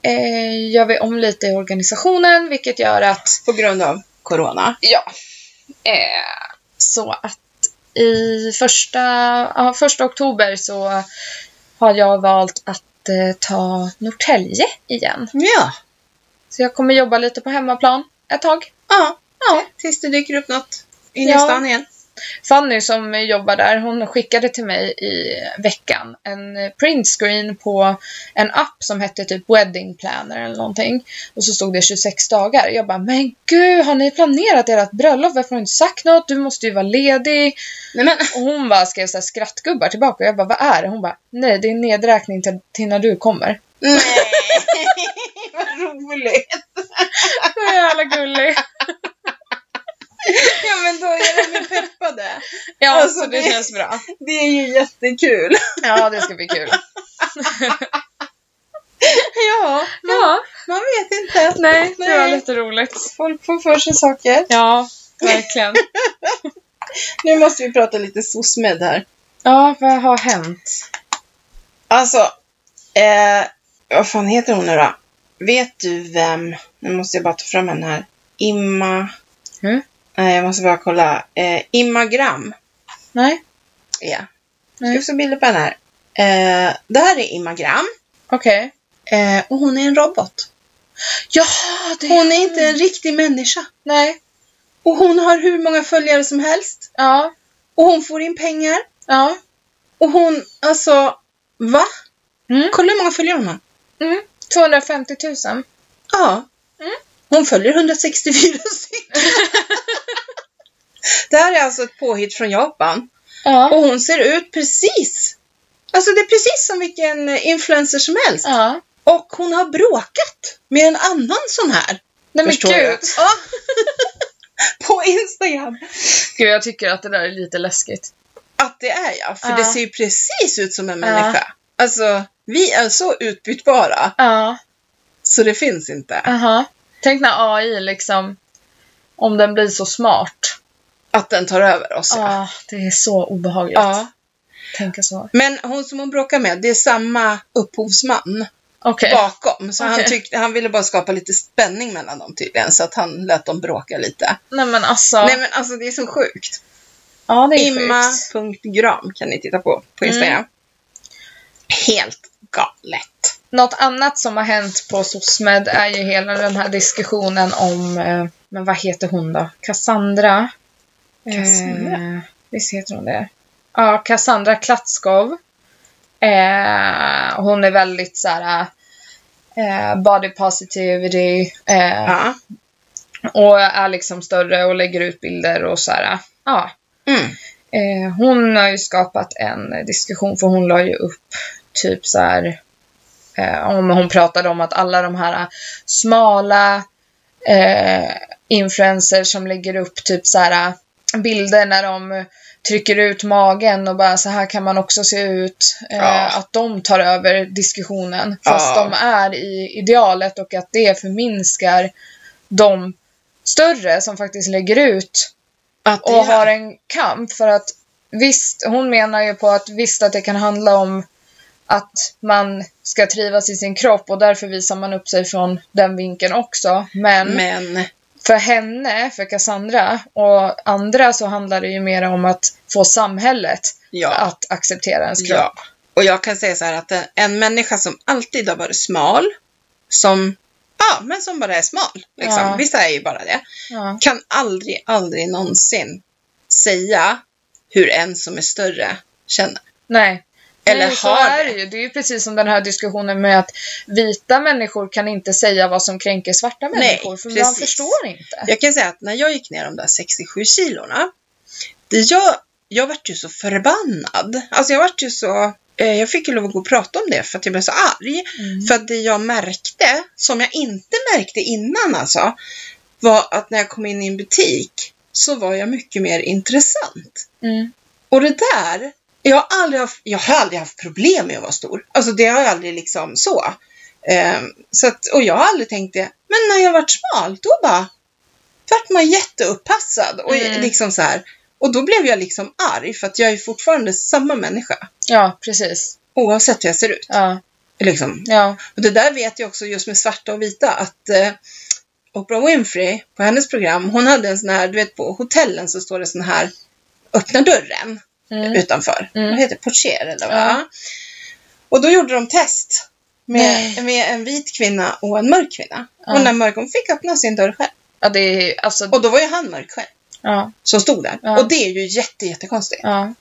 [SPEAKER 1] eh, gör vi om lite i organisationen vilket gör att
[SPEAKER 2] På grund av corona.
[SPEAKER 1] Ja. Eh, så att i första, ja, första oktober så har jag valt att eh, ta Norrtälje igen.
[SPEAKER 2] Ja.
[SPEAKER 1] Så jag kommer jobba lite på hemmaplan ett tag.
[SPEAKER 2] Ja. ja. Tills det dyker upp något inne i
[SPEAKER 1] Ja.
[SPEAKER 2] stan igen.
[SPEAKER 1] Fanny som jobbar där, hon skickade till mig i veckan en printscreen på en app som hette typ Wedding Planner eller någonting. Och så stod det 26 dagar. Jag bara, men gud, har ni planerat ert bröllop? Varför har du inte sagt något? Du måste ju vara ledig.
[SPEAKER 2] Nej men,
[SPEAKER 1] Och hon bara skrev så här skrattgubbar tillbaka och jag bara vad är det? Hon bara nej det är en nedräkning till, till när du kommer.
[SPEAKER 2] nej. Mm. [laughs] Vad roligt.
[SPEAKER 1] Det är jävla gullig.
[SPEAKER 2] Ja men då är de ju peppade.
[SPEAKER 1] [laughs] Ja
[SPEAKER 2] Alltså,
[SPEAKER 1] så det
[SPEAKER 2] det-
[SPEAKER 1] känns bra.
[SPEAKER 2] Det är ju jättekul.
[SPEAKER 1] Ja det ska bli kul.
[SPEAKER 2] Ja,
[SPEAKER 1] Ja,
[SPEAKER 2] man vet inte.
[SPEAKER 1] nej det var
[SPEAKER 2] Nej.
[SPEAKER 1] lite roligt.
[SPEAKER 2] Folk får för sig saker.
[SPEAKER 1] Ja, verkligen.
[SPEAKER 2] Nu måste vi prata lite SOSMED här.
[SPEAKER 1] Ja, vad har hänt?
[SPEAKER 2] Alltså, eh, vad fan heter hon nu då? Vet du vem, nu måste jag bara ta fram henne här, Imma,
[SPEAKER 1] Mm.
[SPEAKER 2] nej jag måste bara kolla, eh, Imma Gram.
[SPEAKER 1] Nej?
[SPEAKER 2] Ja.
[SPEAKER 1] Mm.
[SPEAKER 2] Jag ska få bilder på henne här. Eh, det här är Imma Gram
[SPEAKER 1] Okej.
[SPEAKER 2] eh, och hon är en robot.
[SPEAKER 1] Ja, Ah, det
[SPEAKER 2] Hon är inte en riktig människa.
[SPEAKER 1] Nej.
[SPEAKER 2] Och hon har hur många följare som helst.
[SPEAKER 1] Ja.
[SPEAKER 2] Och hon får in pengar.
[SPEAKER 1] Ja.
[SPEAKER 2] Och hon, alltså, va?
[SPEAKER 1] Mm.
[SPEAKER 2] Kolla hur många följare hon har.
[SPEAKER 1] Mm. 250 000.
[SPEAKER 2] Ja.
[SPEAKER 1] Mm.
[SPEAKER 2] Hon följer 164 [laughs] stycken. det här är alltså ett påhitt från Japan.
[SPEAKER 1] Ja.
[SPEAKER 2] Och hon ser ut precis. Alltså det är precis som vilken influencer som helst.
[SPEAKER 1] Ja.
[SPEAKER 2] Och hon har bråkat med en annan sån här.
[SPEAKER 1] Nej men
[SPEAKER 2] Förstår
[SPEAKER 1] gud.
[SPEAKER 2] jag. Ja. På Instagram.
[SPEAKER 1] Gud jag tycker att det där är lite läskigt.
[SPEAKER 2] Att det är jag. För
[SPEAKER 1] Ja.
[SPEAKER 2] det ser ju precis ut som en
[SPEAKER 1] Ja.
[SPEAKER 2] människa. Alltså, vi är så utbytbara.
[SPEAKER 1] Ja.
[SPEAKER 2] Så det finns inte.
[SPEAKER 1] Aha. Tänk när AI liksom, om den blir så smart.
[SPEAKER 2] Att den tar över oss.
[SPEAKER 1] Ja,
[SPEAKER 2] Ja.
[SPEAKER 1] det är så obehagligt.
[SPEAKER 2] ja.
[SPEAKER 1] Tänka så.
[SPEAKER 2] Men hon som hon bråkar med, det är samma upphovsman
[SPEAKER 1] Okej.
[SPEAKER 2] bakom. Så han,
[SPEAKER 1] Okej.
[SPEAKER 2] tyckte, han ville bara skapa lite spänning mellan dem tydligen, så att han lät dem bråka lite.
[SPEAKER 1] Nej men alltså.
[SPEAKER 2] Nej men alltså det är så sjukt.
[SPEAKER 1] ja, det är sjukt. Mm.
[SPEAKER 2] Imma.gram kan ni titta på på Instagram. Helt galet.
[SPEAKER 1] Något annat som har hänt på SOSMED är ju hela den här diskussionen om, eh, men vad heter hon då? Cassandra.
[SPEAKER 2] Cassandra?
[SPEAKER 1] Eh, visst heter hon det? Ja, Cassandra Klatskov. Eh, hon är väldigt så här eh, body positivity. Eh,
[SPEAKER 2] Ja.
[SPEAKER 1] Och är liksom större och lägger ut bilder och så här. Ja.
[SPEAKER 2] Mm.
[SPEAKER 1] Eh, hon har ju skapat en diskussion för hon la ju upp typ så här. Eh, om hon pratade om att alla de här smala eh, influencers som lägger upp typ så här bilder när de trycker ut magen och bara så här kan man också se ut. Eh,
[SPEAKER 2] Ja.
[SPEAKER 1] Att de tar över diskussionen fast
[SPEAKER 2] Ja.
[SPEAKER 1] de är i idealet och att det förminskar de större som faktiskt lägger ut
[SPEAKER 2] Att
[SPEAKER 1] och har en kamp för att visst, hon menar ju på att visst att det kan handla om att man ska trivas i sin kropp och därför visar man upp sig från den vinkeln också. Men
[SPEAKER 2] Men,
[SPEAKER 1] för henne, för Cassandra och andra så handlar det ju mer om att få samhället
[SPEAKER 2] ja.
[SPEAKER 1] att acceptera ens kropp.
[SPEAKER 2] ja. Och jag kan säga så här att en- en människa som alltid har varit smal, som, ja, men som bara är smal, liksom.
[SPEAKER 1] Ja.
[SPEAKER 2] Vissa är ju bara det.
[SPEAKER 1] Ja.
[SPEAKER 2] kan aldrig, aldrig någonsin säga hur en som är större känner.
[SPEAKER 1] Nej.
[SPEAKER 2] Eller
[SPEAKER 1] Nej, så
[SPEAKER 2] har
[SPEAKER 1] är det
[SPEAKER 2] det.
[SPEAKER 1] ju. Det är ju precis som den här diskussionen med att vita människor kan inte säga vad som kränker svarta
[SPEAKER 2] Nej,
[SPEAKER 1] människor för man
[SPEAKER 2] precis.
[SPEAKER 1] förstår inte.
[SPEAKER 2] Jag kan säga att när jag gick ner de där 67 kilorna, det jag, jag vart ju så förbannad. Alltså jag vart ju så, eh, jag fick ju lov att gå och prata om det för att jag blev så arg.
[SPEAKER 1] Mm.
[SPEAKER 2] För att det jag märkte, som jag inte märkte innan alltså, var att när jag kom in i en butik så var jag mycket mer intressant.
[SPEAKER 1] Mm.
[SPEAKER 2] Och det där, jag har aldrig haft, jag har aldrig haft problem med att vara stor. Alltså det har jag aldrig liksom så. Ehm, så att, och jag har aldrig tänkt det. Men när jag vart smal, då bara vart man jätteuppassad. Och
[SPEAKER 1] Mm.
[SPEAKER 2] liksom så här. Och då blev jag liksom arg för att jag är fortfarande samma människa.
[SPEAKER 1] Ja, precis.
[SPEAKER 2] Oavsett hur jag ser ut.
[SPEAKER 1] Ja,
[SPEAKER 2] Liksom.
[SPEAKER 1] ja.
[SPEAKER 2] Och det där vet jag också just med svarta och vita att eh, Oprah Winfrey på hennes program, hon hade en sån här, du vet på hotellen så står det sån här öppna dörren
[SPEAKER 1] Mm.
[SPEAKER 2] utanför.
[SPEAKER 1] Mm.
[SPEAKER 2] Vad heter det? Portier eller vad?
[SPEAKER 1] Ja.
[SPEAKER 2] Ja. Och då gjorde de test
[SPEAKER 1] Nej.
[SPEAKER 2] med, med en vit kvinna och en mörk kvinna.
[SPEAKER 1] Ja.
[SPEAKER 2] Och den mörk, hon fick öppna sin dörr själv.
[SPEAKER 1] Ja, det är alltså...
[SPEAKER 2] Och då var ju han mörk själv,
[SPEAKER 1] Ja,
[SPEAKER 2] som stod där.
[SPEAKER 1] Ja.
[SPEAKER 2] Och det är ju jätte, jättekonstigt.
[SPEAKER 1] ja.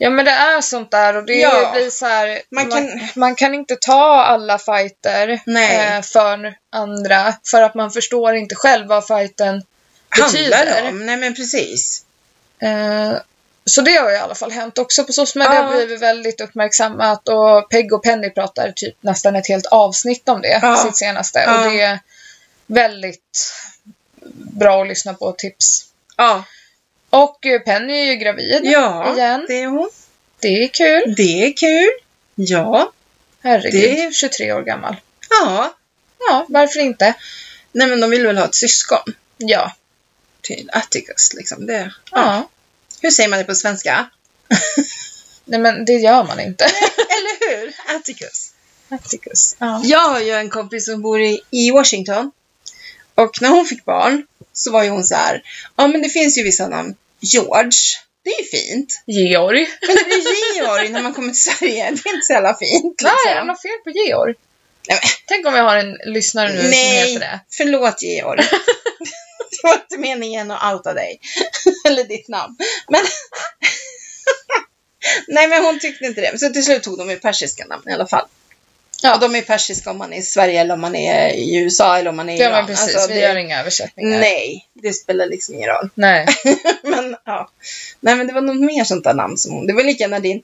[SPEAKER 1] Ja, men det är sånt där och det
[SPEAKER 2] Ja.
[SPEAKER 1] blir så här... Man
[SPEAKER 2] Man
[SPEAKER 1] kan...
[SPEAKER 2] kan-
[SPEAKER 1] Man, kan inte ta alla fighter
[SPEAKER 2] Nej.
[SPEAKER 1] eh, för andra för att man förstår inte själv vad fighten
[SPEAKER 2] Handlar
[SPEAKER 1] betyder.
[SPEAKER 2] det om? Nej men precis.
[SPEAKER 1] Eh, så det har ju i alla fall hänt också. På SOS Media
[SPEAKER 2] Ja.
[SPEAKER 1] blir vi väldigt uppmärksammat och Peg och Penny pratar typ nästan ett helt avsnitt om det,
[SPEAKER 2] Ja.
[SPEAKER 1] sitt senaste.
[SPEAKER 2] Ja.
[SPEAKER 1] Och det är väldigt bra att lyssna på och tips.
[SPEAKER 2] Ja,
[SPEAKER 1] Och eh, Penny är ju gravid
[SPEAKER 2] ja
[SPEAKER 1] igen.
[SPEAKER 2] det är hon.
[SPEAKER 1] Det är kul.
[SPEAKER 2] Det är kul. Ja,
[SPEAKER 1] Herregud,
[SPEAKER 2] Det är-
[SPEAKER 1] 23 år gammal.
[SPEAKER 2] ja.
[SPEAKER 1] Ja, varför inte?
[SPEAKER 2] Nej men de vill väl ha ett syskon
[SPEAKER 1] Ja.
[SPEAKER 2] till Atticus liksom. Det.
[SPEAKER 1] ja.
[SPEAKER 2] Ja. Hur säger man det på svenska?
[SPEAKER 1] Nej men det gör man
[SPEAKER 2] [laughs]
[SPEAKER 1] inte.
[SPEAKER 2] Eller hur? Atticus.
[SPEAKER 1] Atticus. Ja.
[SPEAKER 2] Jag har ju en kompis som bor i, i Washington. Och när hon fick barn så var ju hon så här, ja men det finns ju vissa namn. George, det är ju fint.
[SPEAKER 1] Georg.
[SPEAKER 2] Men det är ju Georg när man kommer till Sverige, det är inte så jävla fint
[SPEAKER 1] Nej, det är
[SPEAKER 2] liksom.
[SPEAKER 1] något fel på Georg.
[SPEAKER 2] Nej, men-
[SPEAKER 1] Tänk om jag har en lyssnare nu som
[SPEAKER 2] Nej,
[SPEAKER 1] heter det. [laughs]
[SPEAKER 2] förlåt Georg. Det var inte meningen att outa dig. [laughs] Eller ditt namn. Men... [laughs] Nej men hon tyckte inte det. Så till slut tog de ju persiska namn i alla fall.
[SPEAKER 1] Ja.
[SPEAKER 2] Ja. Och de är persiska om man är i Sverige eller om man är i USA eller om man är i
[SPEAKER 1] Ja
[SPEAKER 2] Iran.
[SPEAKER 1] men precis,
[SPEAKER 2] Alltså,
[SPEAKER 1] vi
[SPEAKER 2] det-
[SPEAKER 1] gör inga översättningar.
[SPEAKER 2] Nej, det spelar liksom ingen roll. [laughs]
[SPEAKER 1] Nej.
[SPEAKER 2] men ja. Nej, men det var något mer sånt där namn som hon. Det var lika när din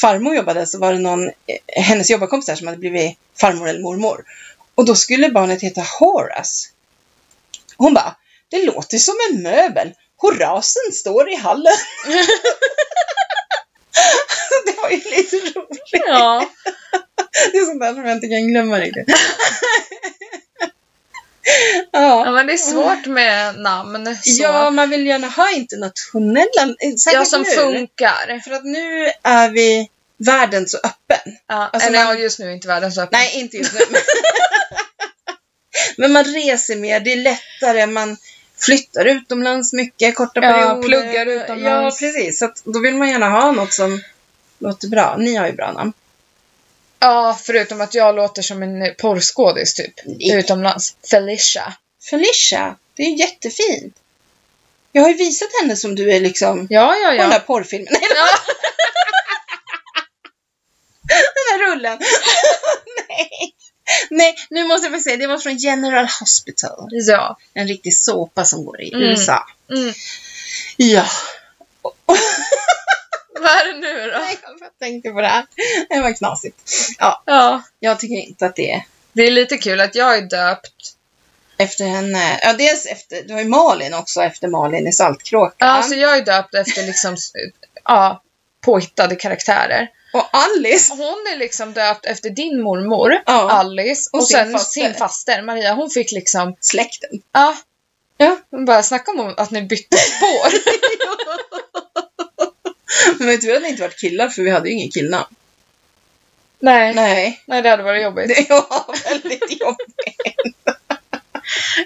[SPEAKER 2] farmor jobbade så var det någon, eh, hennes jobbarkompisar som hade blivit farmor eller mormor. Och då skulle barnet heta Horace. Hon bara, det låter som en möbel. Horasen står i hallen. [laughs] det var ju lite roligt.
[SPEAKER 1] Ja.
[SPEAKER 2] Det är sånt där som jag inte kan glömma riktigt. [laughs] ja.
[SPEAKER 1] ja, men det är svårt med namn. Så.
[SPEAKER 2] Ja, man vill gärna ha internationella. eh, Särskilt
[SPEAKER 1] ja, som
[SPEAKER 2] nu.
[SPEAKER 1] funkar.
[SPEAKER 2] För att nu är vi världen så öppen.
[SPEAKER 1] Ja,
[SPEAKER 2] Alltså,
[SPEAKER 1] eller
[SPEAKER 2] man-
[SPEAKER 1] ja, just nu är inte världens öppna.
[SPEAKER 2] Nej, inte just nu.
[SPEAKER 1] [laughs]
[SPEAKER 2] men- Men man reser mer, det är lättare, man flyttar utomlands mycket, korta
[SPEAKER 1] Ja,
[SPEAKER 2] perioder.
[SPEAKER 1] pluggar utomlands.
[SPEAKER 2] Ja, precis. Så att då vill man gärna ha något som låter bra. Ni har ju bra namn.
[SPEAKER 1] Ja, förutom att jag låter som en porrskådis typ.
[SPEAKER 2] Nej.
[SPEAKER 1] Utomlands. Felicia.
[SPEAKER 2] Felicia, det är ju jättefint. Jag har ju visat henne som du är liksom,
[SPEAKER 1] Ja, ja,
[SPEAKER 2] kolla
[SPEAKER 1] ja.
[SPEAKER 2] porrfilmen. [laughs] Nej,
[SPEAKER 1] ja.
[SPEAKER 2] den här rullen. [laughs] Nej. Nej, nu måste jag faktiskt säga, det var från General Hospital.
[SPEAKER 1] Ja.
[SPEAKER 2] En riktig såpa som går i
[SPEAKER 1] Mm.
[SPEAKER 2] USA.
[SPEAKER 1] Mm.
[SPEAKER 2] Ja.
[SPEAKER 1] Vad är det nu då?
[SPEAKER 2] Nej, jag tänkte på det här. Det var knasigt. Ja,
[SPEAKER 1] Ja.
[SPEAKER 2] jag tycker inte att det är
[SPEAKER 1] Det är lite kul att jag är döpt.
[SPEAKER 2] efter henne. Ja, dels efter, du har ju Malin också efter Malin i Saltkråkan.
[SPEAKER 1] Alltså jag är döpt efter liksom, s- ja, påhittade karaktärer.
[SPEAKER 2] och Alice.
[SPEAKER 1] Hon är liksom döpt efter din mormor,
[SPEAKER 2] Ja.
[SPEAKER 1] Alice, och,
[SPEAKER 2] Och sin
[SPEAKER 1] sen
[SPEAKER 2] faster.
[SPEAKER 1] sin faster Maria. Hon fick liksom,
[SPEAKER 2] Släkten.
[SPEAKER 1] ja,
[SPEAKER 2] Ja.
[SPEAKER 1] hon bara snacka om att ni bytte spår.
[SPEAKER 2] [laughs] Men vet du, vi hade inte varit killar för vi hade ju ingen killnamn.
[SPEAKER 1] Nej. Nej.
[SPEAKER 2] Nej.
[SPEAKER 1] det hade varit jobbigt.
[SPEAKER 2] Det var väldigt jobbigt.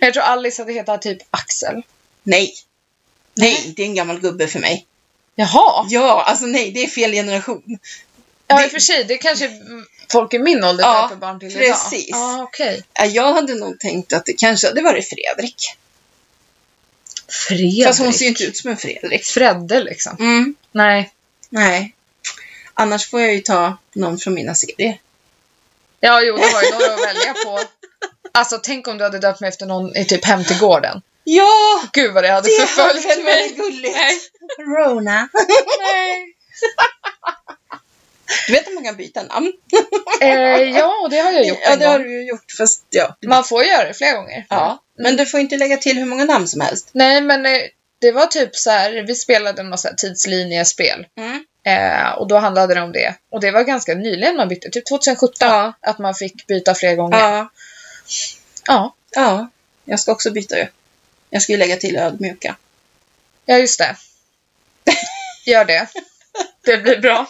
[SPEAKER 1] Jag tror Alice hade hetat typ Axel.
[SPEAKER 2] Nej. Nej, det är en gammal gubbe för mig.
[SPEAKER 1] Jaha!
[SPEAKER 2] Ja, alltså nej, det är fel generation.
[SPEAKER 1] Ja,
[SPEAKER 2] Det-
[SPEAKER 1] i och för sig, det kanske mm, folk i min ålder
[SPEAKER 2] Ja,
[SPEAKER 1] döper barn till idag.
[SPEAKER 2] precis.
[SPEAKER 1] Ja, okej.
[SPEAKER 2] Ja, Jag hade nog tänkt att det kanske hade varit Fredrik.
[SPEAKER 1] Fredrik.
[SPEAKER 2] Fast hon ser ju inte ut som en Fredrik.
[SPEAKER 1] Fredde liksom.
[SPEAKER 2] Mm.
[SPEAKER 1] Nej.
[SPEAKER 2] Nej. Annars får jag ju ta någon från mina serier.
[SPEAKER 1] Ja, jo, det var ju några att välja på. Alltså, tänk om du hade döpt mig efter någon i typ Hem-till-gården.
[SPEAKER 2] Ja!
[SPEAKER 1] Gud vad det hade
[SPEAKER 2] Det hade
[SPEAKER 1] förföljt mig.
[SPEAKER 2] varit gulligt.
[SPEAKER 1] Nej.
[SPEAKER 2] Rona.
[SPEAKER 1] Nej.
[SPEAKER 2] Du vet att man kan byta namn? [laughs]
[SPEAKER 1] Eh, ja, och det har jag gjort
[SPEAKER 2] Ja,
[SPEAKER 1] en
[SPEAKER 2] det har
[SPEAKER 1] gång.
[SPEAKER 2] du ju gjort. Fast ja.
[SPEAKER 1] Man får göra det flera gånger.
[SPEAKER 2] ja. Men du får inte lägga till hur många namn som helst.
[SPEAKER 1] Nej, men eh, det var typ så här, vi spelade en massa tidslinjespel.
[SPEAKER 2] Mm.
[SPEAKER 1] Eh, och då handlade det om det. Och det var ganska nyligen man bytte, typ 2017.
[SPEAKER 2] Ja.
[SPEAKER 1] Att man fick byta flera gånger.
[SPEAKER 2] Ja.
[SPEAKER 1] ja.
[SPEAKER 2] Ja. Jag ska också byta ju. Jag ska ju lägga till ödmjuka.
[SPEAKER 1] Ja, just
[SPEAKER 2] [laughs]
[SPEAKER 1] det. Gör det. Det blir bra.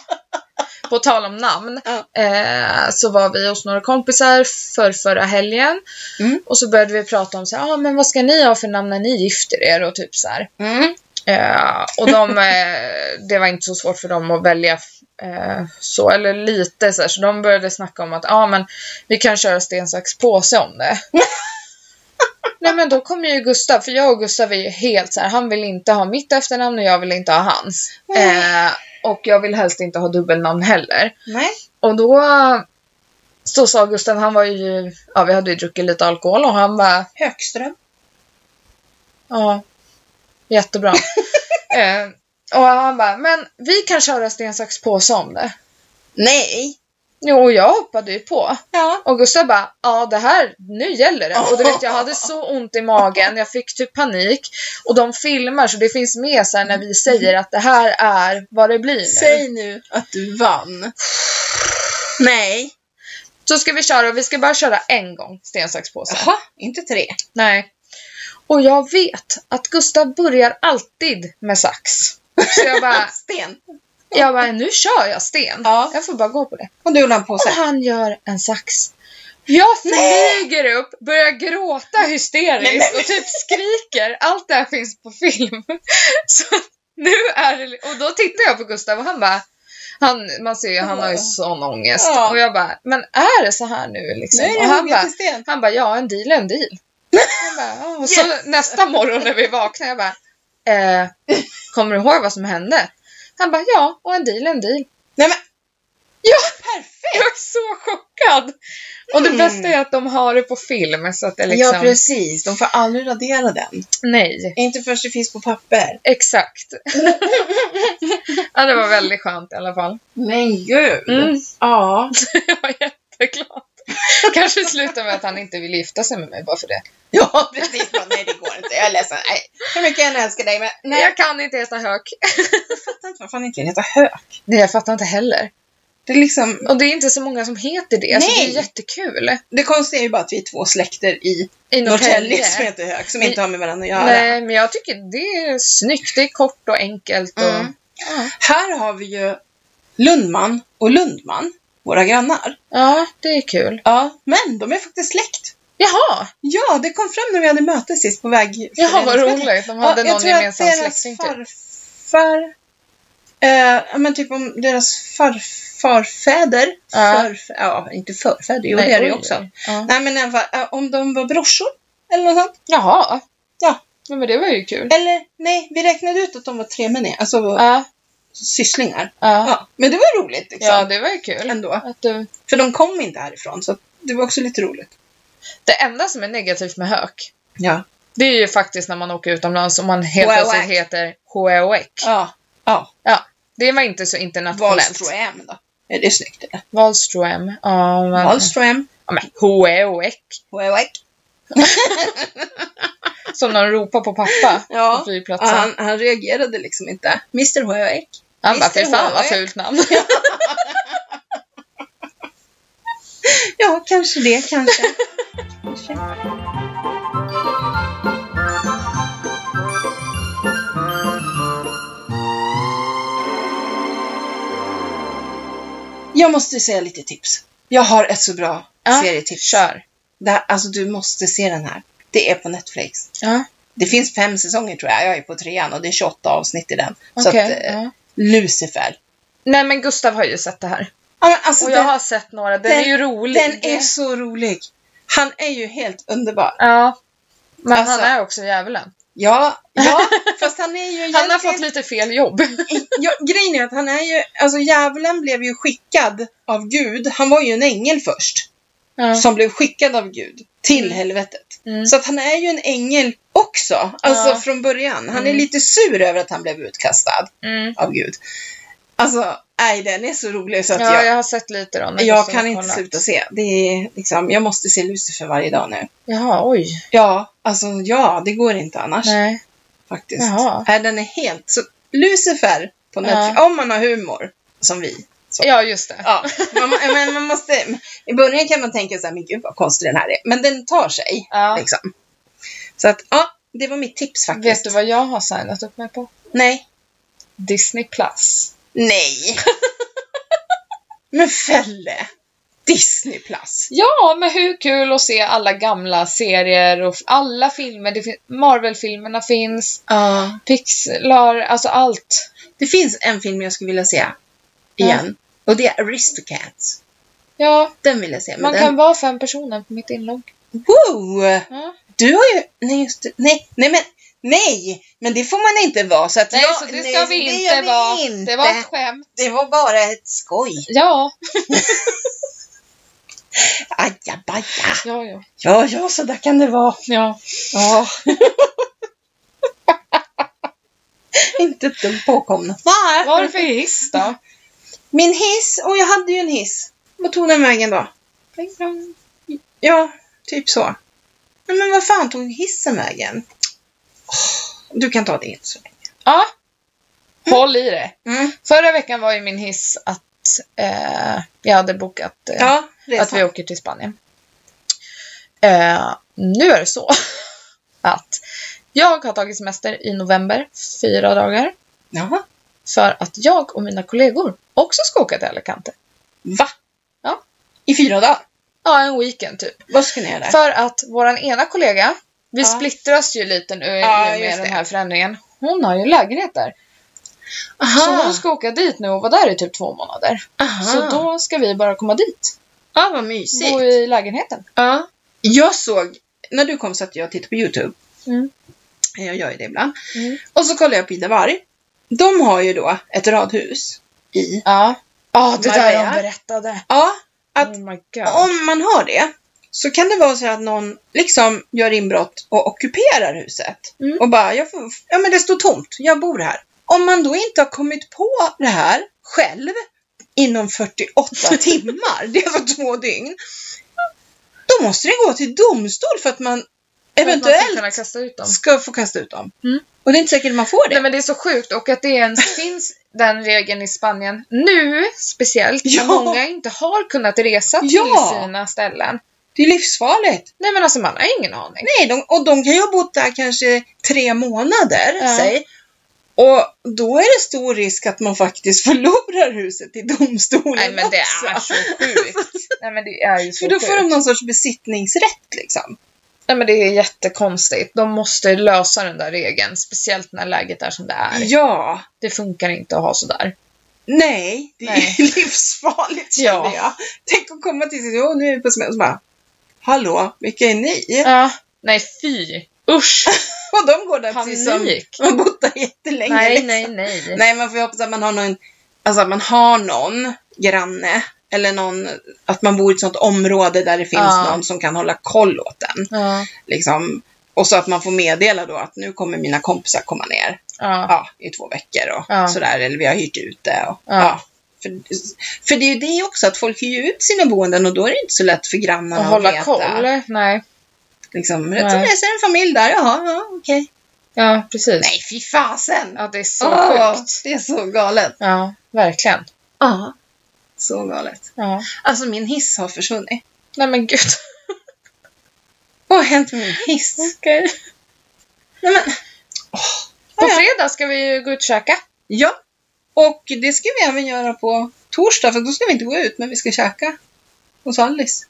[SPEAKER 1] På tal om namn,
[SPEAKER 2] Ja.
[SPEAKER 1] eh, så var vi hos några kompisar för förra helgen.
[SPEAKER 2] Mm.
[SPEAKER 1] Och så började vi prata om så här, ah, men vad ska ni ha för namn när ni gifter er och typ så här.
[SPEAKER 2] Mm.
[SPEAKER 1] Eh, och de, eh, det var inte så svårt för dem att välja eh, så, eller lite så här. Så de började snacka om att ja men vi kan köra sten, sax, påse om det. [laughs] Nej men då kommer ju Gustav, för jag och Gustav är ju helt så här, han vill inte ha mitt efternamn och jag vill inte ha hans. Eh, och jag vill helst inte ha dubbelnamn heller.
[SPEAKER 2] Nej.
[SPEAKER 1] Och då så sa Gustav, han var ju, ja vi hade ju druckit lite alkohol och han bara
[SPEAKER 2] Högström.
[SPEAKER 1] Ja, jättebra. eh, och han bara, men vi kan köra sten, sax, påse om det.
[SPEAKER 2] Nej.
[SPEAKER 1] Jo, och jag hoppade ju på.
[SPEAKER 2] Ja.
[SPEAKER 1] Och Gustav bara, ja det här, nu gäller det. Och du vet, jag hade så ont i magen, jag fick typ panik. Och de filmar så det finns med sen när vi säger att det här är vad det blir nu.
[SPEAKER 2] Säg nu att du vann. Nej.
[SPEAKER 1] Så ska vi köra, och vi ska bara köra en gång sten, sax, påse.
[SPEAKER 2] Jaha, inte tre.
[SPEAKER 1] Nej. Och jag vet att Gustav börjar alltid med sax. Så jag bara,
[SPEAKER 2] Sten.
[SPEAKER 1] jag bara nu kör jag sten.
[SPEAKER 2] Ja.
[SPEAKER 1] Jag får bara gå på det.
[SPEAKER 2] Och du la en påse.
[SPEAKER 1] Och han gör en sax. Jag flyger upp, börjar gråta
[SPEAKER 2] Nej,
[SPEAKER 1] hysteriskt
[SPEAKER 2] men-
[SPEAKER 1] och typ skriker. Allt det här finns på film. [laughs] Så nu är det... Och då tittar jag på Gustav och han bara... Han, man ser ju, han har ju sån ångest.
[SPEAKER 2] Ja.
[SPEAKER 1] Och jag bara, men är det så här nu liksom?
[SPEAKER 2] Nu är
[SPEAKER 1] Och
[SPEAKER 2] det
[SPEAKER 1] han
[SPEAKER 2] hugget
[SPEAKER 1] bara,
[SPEAKER 2] i sten.
[SPEAKER 1] han bara, ja en deal är en deal. Jag bara, "Ja." och så
[SPEAKER 2] Yes.
[SPEAKER 1] nästa morgon när vi vaknade, jag bara,
[SPEAKER 2] [laughs]
[SPEAKER 1] eh, kommer du ihåg vad som hände? Han bara, ja och en deal är en deal.
[SPEAKER 2] Nej men.
[SPEAKER 1] Ja!
[SPEAKER 2] Perfekt!
[SPEAKER 1] [laughs] Jag är så chockad! Och det
[SPEAKER 2] Mm.
[SPEAKER 1] bästa är att de har det på film så att det liksom...
[SPEAKER 2] Ja precis, de får aldrig radera den.
[SPEAKER 1] Nej,
[SPEAKER 2] Inte först det finns på papper. [laughs]
[SPEAKER 1] exakt. ja, det var väldigt skönt i alla fall. [laughs]
[SPEAKER 2] Men gud!
[SPEAKER 1] Mm.
[SPEAKER 2] Ja.
[SPEAKER 1] Jag var jätteglad. Kanske slutar med att han inte vill gifta sig med mig bara för det.
[SPEAKER 2] Ja, precis. Bara, Nej, det går inte. Jag är ledsen. Nej. Hur mycket jag än älskar dig, men nej.
[SPEAKER 1] Jag kan inte heta hök.
[SPEAKER 2] Jag fattar inte varför han inte heter Hök.
[SPEAKER 1] Nej, jag fattar inte heller.
[SPEAKER 2] Det, är liksom,
[SPEAKER 1] Och det är inte så många som heter det, så det
[SPEAKER 2] Nej.
[SPEAKER 1] är jättekul.
[SPEAKER 2] det konstiga är ju bara att vi är två släkter i
[SPEAKER 1] I
[SPEAKER 2] Norrtälje som heter Hök, som
[SPEAKER 1] Vi-
[SPEAKER 2] inte har med varandra att göra.
[SPEAKER 1] Nej, men jag tycker det är snyggt. Det är kort och enkelt. Och...
[SPEAKER 2] Mm. Här har vi ju Lundman och Lundman, våra grannar.
[SPEAKER 1] Ja, det är kul.
[SPEAKER 2] Ja. Men de är faktiskt släkt.
[SPEAKER 1] Jaha!
[SPEAKER 2] Ja, det kom fram när vi hade möte sist på väg.
[SPEAKER 1] Jaha, vad roligt. De hade
[SPEAKER 2] jag
[SPEAKER 1] någon
[SPEAKER 2] tror att
[SPEAKER 1] gemensam
[SPEAKER 2] deras
[SPEAKER 1] släkting typ.
[SPEAKER 2] farfar, eh, ja, men typ om deras farfarfäder,
[SPEAKER 1] Ja.
[SPEAKER 2] förf, ja inte förfäder, jo det är det ju
[SPEAKER 1] oj,
[SPEAKER 2] också.
[SPEAKER 1] oj. Ja.
[SPEAKER 2] Nej men i alla fall, eh, om de var brorsor eller något sånt.
[SPEAKER 1] Jaha.
[SPEAKER 2] Ja.
[SPEAKER 1] Ja, men det var ju kul.
[SPEAKER 2] Eller nej, vi räknade ut att de var tre män, alltså
[SPEAKER 1] Ja.
[SPEAKER 2] sysslingar.
[SPEAKER 1] Ja.
[SPEAKER 2] Ja, men det var roligt liksom.
[SPEAKER 1] ja, det var ju kul.
[SPEAKER 2] Ändå.
[SPEAKER 1] Att du...
[SPEAKER 2] För de kom inte härifrån, så det var också lite roligt.
[SPEAKER 1] Det enda som är negativt med hök,
[SPEAKER 2] Ja.
[SPEAKER 1] det är ju faktiskt när man åker utomlands och man helt
[SPEAKER 2] Hoek.
[SPEAKER 1] plötsligt heter Hoek.
[SPEAKER 2] Ja. Ja.
[SPEAKER 1] Det var inte så internationellt.
[SPEAKER 2] Wahlström då. Är det snyggt eller?
[SPEAKER 1] Wahlström. Ja, men...
[SPEAKER 2] Wahlström.
[SPEAKER 1] Ja, men Hoek.
[SPEAKER 2] Hoek.
[SPEAKER 1] Som de ropar på pappa på
[SPEAKER 2] [laughs] Ja. Ja,
[SPEAKER 1] flygplatsen.
[SPEAKER 2] han, han reagerade liksom inte. Mr Hoek.
[SPEAKER 1] han bara,
[SPEAKER 2] Mr.
[SPEAKER 1] fy fan vad
[SPEAKER 2] Hoek."
[SPEAKER 1] fult namn.
[SPEAKER 2] Ja, kanske det, kanske. [laughs] Kanske. Jag måste säga lite tips. Jag har ett så bra
[SPEAKER 1] Ja,
[SPEAKER 2] serietips.
[SPEAKER 1] Kör.
[SPEAKER 2] Det här, alltså, du måste se den här. Det är på Netflix.
[SPEAKER 1] Ja,
[SPEAKER 2] Det finns fem säsonger tror jag. Jag är på trean och det är 28 avsnitt i den. Så
[SPEAKER 1] okej.
[SPEAKER 2] att, eh,
[SPEAKER 1] ja.
[SPEAKER 2] Lucifer.
[SPEAKER 1] Nej, men Gustav har ju sett det här.
[SPEAKER 2] Ja, men alltså,
[SPEAKER 1] Och jag
[SPEAKER 2] den,
[SPEAKER 1] har sett några. Den,
[SPEAKER 2] den-
[SPEAKER 1] är ju rolig.
[SPEAKER 2] den är så rolig. Han är ju helt underbar.
[SPEAKER 1] Ja. Men
[SPEAKER 2] Alltså-
[SPEAKER 1] han är också djävulen.
[SPEAKER 2] Ja,
[SPEAKER 1] [laughs]
[SPEAKER 2] ja, fast han är ju
[SPEAKER 1] Han har
[SPEAKER 2] egentligen...
[SPEAKER 1] fått lite fel [laughs] jobb.
[SPEAKER 2] ja, grejen är att han är ju, alltså djävulen blev ju skickad av Gud. Han var ju en ängel först,
[SPEAKER 1] Ja.
[SPEAKER 2] som blev skickad av Gud till
[SPEAKER 1] Mm.
[SPEAKER 2] helvetet.
[SPEAKER 1] Mm.
[SPEAKER 2] Så att han är ju en ängel också, alltså
[SPEAKER 1] Ja.
[SPEAKER 2] från början. Han är
[SPEAKER 1] Mm.
[SPEAKER 2] lite sur över att han blev utkastad
[SPEAKER 1] Mm.
[SPEAKER 2] av Gud. Alltså, nej, den är så rolig så att
[SPEAKER 1] Ja,
[SPEAKER 2] jag,
[SPEAKER 1] jag har sett lite då. när
[SPEAKER 2] jag,
[SPEAKER 1] Gustav
[SPEAKER 2] kan
[SPEAKER 1] har
[SPEAKER 2] inte
[SPEAKER 1] kollat.
[SPEAKER 2] sluta se. Det är liksom, jag måste se Lucifer varje dag nu.
[SPEAKER 1] Jaha, oj.
[SPEAKER 2] Ja, alltså ja, det går inte annars.
[SPEAKER 1] Nej.
[SPEAKER 2] faktiskt.
[SPEAKER 1] Jaha.
[SPEAKER 2] Nej, den är helt... Så Lucifer på Netflix, om man har humor, som vi.
[SPEAKER 1] Ja, just det.
[SPEAKER 2] Ja, man, må- men man måste... I början kan man tänka så här, men gud vad konstig den här är. Men den tar sig,
[SPEAKER 1] Ja.
[SPEAKER 2] liksom. Så att, ja, det var mitt tips faktiskt.
[SPEAKER 1] Vet du vad jag har signat upp mig på?
[SPEAKER 2] Nej.
[SPEAKER 1] Disney Plus.
[SPEAKER 2] Nej. men Felle! Disney Plus.
[SPEAKER 1] Ja, men hur kul att se alla gamla serier och f- alla filmer. Det fin- Marvel-filmerna finns,
[SPEAKER 2] Ja.
[SPEAKER 1] Pixlar, alltså allt.
[SPEAKER 2] Det finns en film jag skulle vilja se igen. Och det är Aristocats.
[SPEAKER 1] Ja,
[SPEAKER 2] Den vill jag se. Men
[SPEAKER 1] man
[SPEAKER 2] den...
[SPEAKER 1] kan vara fem personer på mitt inlogg.
[SPEAKER 2] Wow!
[SPEAKER 1] Ja.
[SPEAKER 2] Du har ju... Nej, just det. Nej, nej, men... Nej, men det får man inte vara. Så att
[SPEAKER 1] Nej,
[SPEAKER 2] jag,
[SPEAKER 1] så det
[SPEAKER 2] nej,
[SPEAKER 1] ska
[SPEAKER 2] så
[SPEAKER 1] vi
[SPEAKER 2] det
[SPEAKER 1] inte
[SPEAKER 2] gör vi
[SPEAKER 1] vara.
[SPEAKER 2] inte.
[SPEAKER 1] Det var ett skämt.
[SPEAKER 2] Det var bara ett skoj.
[SPEAKER 1] Ja.
[SPEAKER 2] Ajabaja.
[SPEAKER 1] Ja, ja.
[SPEAKER 2] Ja, ja, så där kan det vara.
[SPEAKER 1] Ja.
[SPEAKER 2] Ja. inte ett dugg påkomna.
[SPEAKER 1] Vad är det för hiss då?
[SPEAKER 2] Min hiss, och jag hade ju en hiss. Vad tog den vägen då? Ja, typ så. Nej, men vad fan tog hissen vägen? Åh, Du kan ta det inte så länge.
[SPEAKER 1] Ja. Håll i det.
[SPEAKER 2] Mm.
[SPEAKER 1] Förra veckan var ju min hiss att eh, jag hade bokat eh,
[SPEAKER 2] Ja,
[SPEAKER 1] att vi
[SPEAKER 2] resan.
[SPEAKER 1] åker till Spanien. Eh, nu är det så [laughs] att jag har tagit semester i november, fyra dagar,
[SPEAKER 2] Jaha.
[SPEAKER 1] för att jag och mina kollegor också ska åka till Alicante.
[SPEAKER 2] Va?
[SPEAKER 1] Ja.
[SPEAKER 2] I fyra dagar?
[SPEAKER 1] Ja, en weekend typ.
[SPEAKER 2] Vad ska ni göra där?
[SPEAKER 1] För att våran ena kollega, vi
[SPEAKER 2] Ja.
[SPEAKER 1] splittras ju lite nu i
[SPEAKER 2] Ja,
[SPEAKER 1] och
[SPEAKER 2] just
[SPEAKER 1] med den
[SPEAKER 2] det.
[SPEAKER 1] här förändringen. Hon har ju lägenhet där. Så hon ska åka dit nu och vara där i typ två månader.
[SPEAKER 2] aha.
[SPEAKER 1] Så då ska vi bara komma dit.
[SPEAKER 2] ja, vad mysigt.
[SPEAKER 1] Bo i lägenheten.
[SPEAKER 2] Ja. Jag såg, när du kom satt jag och tittade på YouTube.
[SPEAKER 1] Mm.
[SPEAKER 2] Jag gör ju det ibland.
[SPEAKER 1] Mm.
[SPEAKER 2] Och så kollade jag på Ida Warg. De har ju då ett radhus i...
[SPEAKER 1] Ja. Ja, det där
[SPEAKER 2] Marbella.
[SPEAKER 1] hon berättade.
[SPEAKER 2] Ja, Att-
[SPEAKER 1] oh my god.
[SPEAKER 2] om man har det så kan det vara så att någon liksom gör inbrott och ockuperar huset.
[SPEAKER 1] Mm.
[SPEAKER 2] Och bara, jag får, ja men det står tomt, jag bor här. Om man då inte har kommit på det här själv inom
[SPEAKER 1] [laughs]
[SPEAKER 2] 48 timmar, det är alltså två dygn, då måste det gå till domstol för att man
[SPEAKER 1] För att man ska
[SPEAKER 2] eventuellt
[SPEAKER 1] kunna kasta ut dem.
[SPEAKER 2] ska få kasta ut dem.
[SPEAKER 1] Mm.
[SPEAKER 2] Och det är inte säkert man får det.
[SPEAKER 1] Nej men det är så sjukt och att det [laughs] ens finns den regeln i Spanien nu speciellt.
[SPEAKER 2] Ja.
[SPEAKER 1] När många inte har kunnat resa till
[SPEAKER 2] Ja.
[SPEAKER 1] sina ställen.
[SPEAKER 2] Det är livsfarligt.
[SPEAKER 1] Nej men alltså man har ingen aning.
[SPEAKER 2] Nej, de, och de kan ju ha bott där kanske tre månader,
[SPEAKER 1] Ja.
[SPEAKER 2] säg. Och då är det stor risk att man faktiskt [laughs] förlorar huset i domstolen
[SPEAKER 1] Nej men det
[SPEAKER 2] också.
[SPEAKER 1] är så sjukt. Nej men det är ju så
[SPEAKER 2] För då
[SPEAKER 1] sjukt.
[SPEAKER 2] får de någon sorts besittningsrätt liksom.
[SPEAKER 1] Nej men det är jättekonstigt. De måste lösa den där regeln. Speciellt när läget är som det är.
[SPEAKER 2] Ja.
[SPEAKER 1] Det funkar inte att ha sådär.
[SPEAKER 2] Nej, det
[SPEAKER 1] Nej.
[SPEAKER 2] är [laughs] livsfarligt
[SPEAKER 1] Ja.
[SPEAKER 2] känner jag. Tänk att komma till sig, åh nu är vi på semester och bara, hallå, vilka är ni?
[SPEAKER 1] Ja. Nej fy. Usch!
[SPEAKER 2] [laughs] Och de går där precis som
[SPEAKER 1] Panik!
[SPEAKER 2] man bott där jättelänge.
[SPEAKER 1] Nej,
[SPEAKER 2] liksom.
[SPEAKER 1] nej, nej.
[SPEAKER 2] Nej, man får ju hoppas att man har någon, alltså att man har någon granne. Eller någon, att man bor i ett sånt område där det finns
[SPEAKER 1] Ja.
[SPEAKER 2] någon som kan hålla koll åt den.
[SPEAKER 1] Ja,
[SPEAKER 2] Liksom. Och så att man får meddela då att nu kommer mina kompisar komma ner
[SPEAKER 1] ja,
[SPEAKER 2] ja, i två veckor och
[SPEAKER 1] Ja.
[SPEAKER 2] sådär. Eller vi har hyrt ut det. Och,
[SPEAKER 1] Ja.
[SPEAKER 2] ja. För, för det är ju det också, att folk hyr ju ut sina boenden och då är det inte så lätt för grannarna
[SPEAKER 1] Och
[SPEAKER 2] att
[SPEAKER 1] hålla
[SPEAKER 2] veta.
[SPEAKER 1] koll. Nej.
[SPEAKER 2] Liksom, rätt som
[SPEAKER 1] Nej.
[SPEAKER 2] det är så är det en familj där, jaha, ja, okej.
[SPEAKER 1] Ja, precis.
[SPEAKER 2] Nej, fy fasen!
[SPEAKER 1] Ja, det är så
[SPEAKER 2] Åh,
[SPEAKER 1] sjukt.
[SPEAKER 2] Det är så galet.
[SPEAKER 1] Ja, verkligen.
[SPEAKER 2] Ja. Så galet.
[SPEAKER 1] Ja.
[SPEAKER 2] Alltså min hiss har försvunnit.
[SPEAKER 1] Nej men
[SPEAKER 2] [laughs]
[SPEAKER 1] gud.
[SPEAKER 2] Vad har hänt med min hiss?
[SPEAKER 1] Okej.
[SPEAKER 2] Nej
[SPEAKER 1] [laughs]
[SPEAKER 2] men,
[SPEAKER 1] På
[SPEAKER 2] Ja, ja.
[SPEAKER 1] fredag ska vi ju gå ut och käka.
[SPEAKER 2] ja. Och det ska vi även göra på torsdag, för då ska vi inte gå ut, men vi ska käka. Hos Alice.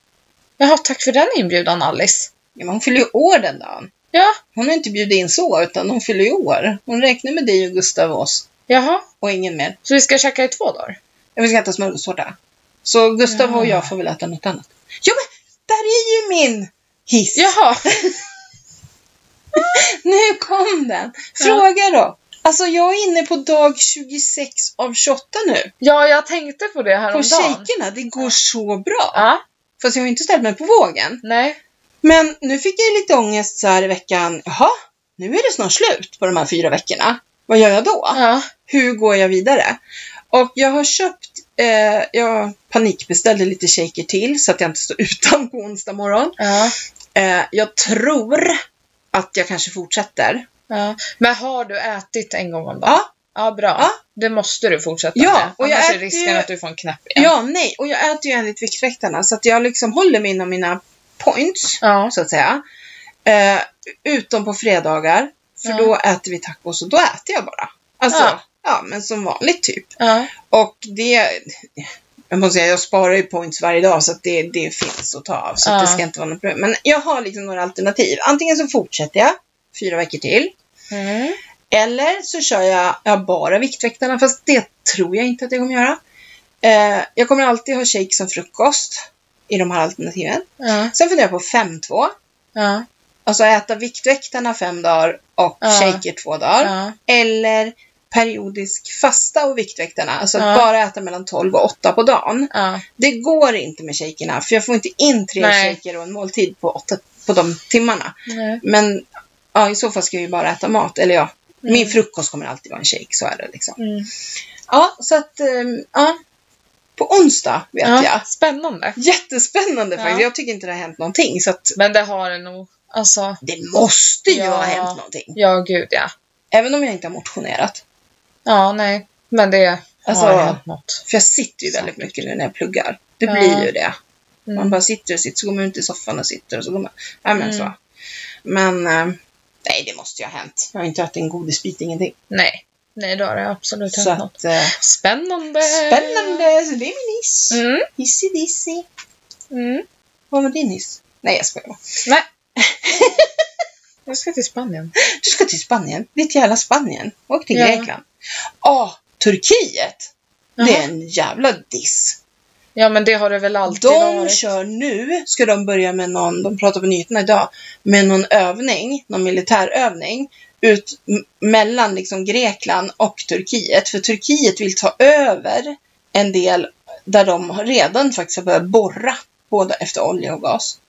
[SPEAKER 1] Jaha, tack för den inbjudan Alice.
[SPEAKER 2] Ja, men hon fyller ju år den dagen.
[SPEAKER 1] Ja,
[SPEAKER 2] Hon har inte bjudit in så, utan hon fyller ju år. Hon räknar med dig och Gustav och oss.
[SPEAKER 1] jaha.
[SPEAKER 2] Och ingen mer.
[SPEAKER 1] Så vi ska käka i två dagar?
[SPEAKER 2] Ja, vi ska äta smörgåstårta. Så Gustav och
[SPEAKER 1] Ja.
[SPEAKER 2] jag får väl äta något annat. Ja, men där är ju min hiss!
[SPEAKER 1] Jaha.
[SPEAKER 2] Nu kom den! Fråga då! Alltså jag är inne på dag 26 av 28 nu.
[SPEAKER 1] Ja, jag tänkte på det
[SPEAKER 2] På
[SPEAKER 1] häromdagen.
[SPEAKER 2] shakerna, det går så bra.
[SPEAKER 1] Ja,
[SPEAKER 2] Fast jag har ju inte ställt mig på vågen.
[SPEAKER 1] nej.
[SPEAKER 2] Men nu fick jag ju lite ångest så här i veckan. Jaha, nu är det snart slut på de här fyra veckorna. Vad gör jag då?
[SPEAKER 1] Ja,
[SPEAKER 2] Hur går jag vidare? Och jag har köpt, eh, jag panikbeställde lite shaker till så att jag inte står [laughs] utan på onsdag morgon.
[SPEAKER 1] ja,
[SPEAKER 2] Eh, jag tror att jag kanske fortsätter.
[SPEAKER 1] ja. Men har du ätit en gång om dagen?
[SPEAKER 2] Ja,
[SPEAKER 1] Ja, bra.
[SPEAKER 2] Ja.
[SPEAKER 1] Det måste du fortsätta
[SPEAKER 2] Ja,
[SPEAKER 1] med.
[SPEAKER 2] och
[SPEAKER 1] Annars
[SPEAKER 2] jag
[SPEAKER 1] är
[SPEAKER 2] äter
[SPEAKER 1] risken
[SPEAKER 2] ju-
[SPEAKER 1] att du får en knäpp igen.
[SPEAKER 2] Ja, nej. Och jag äter ju enligt Viktväktarna så att jag liksom håller mig inom mina points,
[SPEAKER 1] Ja.
[SPEAKER 2] så att säga. Eh, utom på fredagar, för
[SPEAKER 1] Ja.
[SPEAKER 2] då äter vi tacos och då äter jag bara. Alltså,
[SPEAKER 1] Ja.
[SPEAKER 2] ja, men som vanligt typ.
[SPEAKER 1] Ja.
[SPEAKER 2] Och det, jag måste säga, jag sparar ju points varje dag så att det, det finns att ta av. Så att
[SPEAKER 1] Ja.
[SPEAKER 2] det ska inte vara något problem. Men jag har liksom några alternativ. Antingen så fortsätter jag fyra veckor till.
[SPEAKER 1] Mm.
[SPEAKER 2] Eller så kör jag, jag bara Viktväktarna, fast det tror jag inte att jag kommer göra. Eh, jag kommer alltid ha shake som frukost i de här alternativen.
[SPEAKER 1] Ja.
[SPEAKER 2] Sen funderar jag på 5-2.
[SPEAKER 1] Ja.
[SPEAKER 2] Alltså äta Viktväktarna fem dagar och
[SPEAKER 1] Ja.
[SPEAKER 2] shaker två dagar.
[SPEAKER 1] Ja.
[SPEAKER 2] Eller periodisk fasta och Viktväktarna. Alltså
[SPEAKER 1] Ja.
[SPEAKER 2] att bara äta mellan 12 och 8 på dagen.
[SPEAKER 1] Ja.
[SPEAKER 2] Det går inte med shakerna, för jag får inte in tre
[SPEAKER 1] Nej.
[SPEAKER 2] shaker och en måltid på, åtta, på de timmarna.
[SPEAKER 1] Nej.
[SPEAKER 2] Men ja, i så fall ska jag ju bara äta mat. Eller ja, min frukost kommer alltid vara en shake. Så är det liksom.
[SPEAKER 1] Mm.
[SPEAKER 2] Ja, så att ehm, ja. På onsdag vet jag.
[SPEAKER 1] Ja. Spännande.
[SPEAKER 2] Jättespännande
[SPEAKER 1] Ja.
[SPEAKER 2] faktiskt. Jag tycker inte det har hänt någonting. Så att
[SPEAKER 1] Men det har det nog. Alltså,
[SPEAKER 2] det måste ju
[SPEAKER 1] Ja.
[SPEAKER 2] ha hänt någonting.
[SPEAKER 1] ja gud ja.
[SPEAKER 2] Även om jag inte har motionerat.
[SPEAKER 1] Ja, nej. Men det
[SPEAKER 2] Alltså-
[SPEAKER 1] har hänt något.
[SPEAKER 2] För jag sitter ju väldigt mycket nu när jag pluggar. Det blir
[SPEAKER 1] Ja.
[SPEAKER 2] ju det. Man
[SPEAKER 1] Mm.
[SPEAKER 2] bara sitter och sitter, så går man ut i soffan och sitter och så går man... Ja, men
[SPEAKER 1] Mm.
[SPEAKER 2] så. Men ehm, nej, det måste ju ha hänt. Jag har inte ätit en godisbit, ingenting.
[SPEAKER 1] Nej. Nej, då har det absolut
[SPEAKER 2] Så
[SPEAKER 1] hänt något.
[SPEAKER 2] att, eh,
[SPEAKER 1] Spännande!
[SPEAKER 2] spännande! Så det är min hiss.
[SPEAKER 1] Mm.
[SPEAKER 2] Hissi dissi.
[SPEAKER 1] Mm.
[SPEAKER 2] Vad var din hiss? Nej, jag skojar bara. [laughs]
[SPEAKER 1] Nej. Jag ska till Spanien.
[SPEAKER 2] Du ska till Spanien. Ditt jävla Spanien. Åk till
[SPEAKER 1] Ja.
[SPEAKER 2] Grekland. Ah, Turkiet! Det
[SPEAKER 1] Jaha.
[SPEAKER 2] är en jävla diss.
[SPEAKER 1] Ja, men det har det väl alltid
[SPEAKER 2] de
[SPEAKER 1] varit.
[SPEAKER 2] kör nu, ska de börja med någon, de pratar på nyheterna idag, med någon övning, någon militärövning, ut m- mellan liksom Grekland och Turkiet. För Turkiet vill ta över en del där de har redan faktiskt har börjat borra, både efter olja och gas.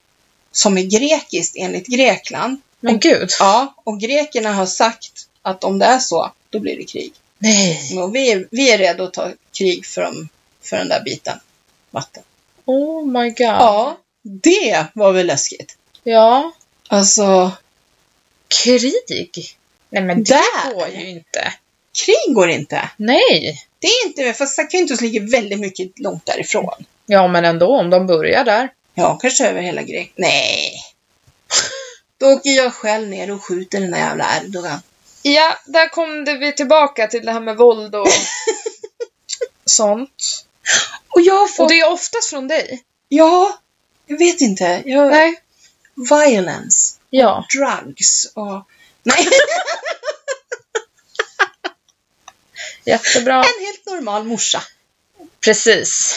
[SPEAKER 2] Som är grekiskt enligt Grekland.
[SPEAKER 1] Men gud.
[SPEAKER 2] Ja, och grekerna har sagt att om det är så, då blir det krig.
[SPEAKER 1] Nej.
[SPEAKER 2] Och vi är, vi är redo att ta krig för, dem, för den där biten vatten.
[SPEAKER 1] Oh my god.
[SPEAKER 2] Ja, det var väl läskigt.
[SPEAKER 1] Ja.
[SPEAKER 2] Alltså,
[SPEAKER 1] Krig? Nej, men det
[SPEAKER 2] Där.
[SPEAKER 1] går ju inte.
[SPEAKER 2] krig går inte.
[SPEAKER 1] Nej.
[SPEAKER 2] Det är inte, fast Sakintos ligger väldigt mycket långt därifrån.
[SPEAKER 1] Ja, men ändå, om de börjar där.
[SPEAKER 2] Ja, kanske över hela Grekland. Nej. [laughs] Då åker jag själv ner och skjuter den där jävla Erdogan.
[SPEAKER 1] Ja, där kom det vi tillbaka till det här med våld [laughs] och sånt.
[SPEAKER 2] Och jag
[SPEAKER 1] Och
[SPEAKER 2] får...
[SPEAKER 1] det är oftast från dig?
[SPEAKER 2] Ja, jag vet inte. Jag...
[SPEAKER 1] Nej.
[SPEAKER 2] Violence.
[SPEAKER 1] Ja.
[SPEAKER 2] Drugs och... Nej, [laughs]
[SPEAKER 1] Jättebra.
[SPEAKER 2] en helt normal morsa.
[SPEAKER 1] Precis.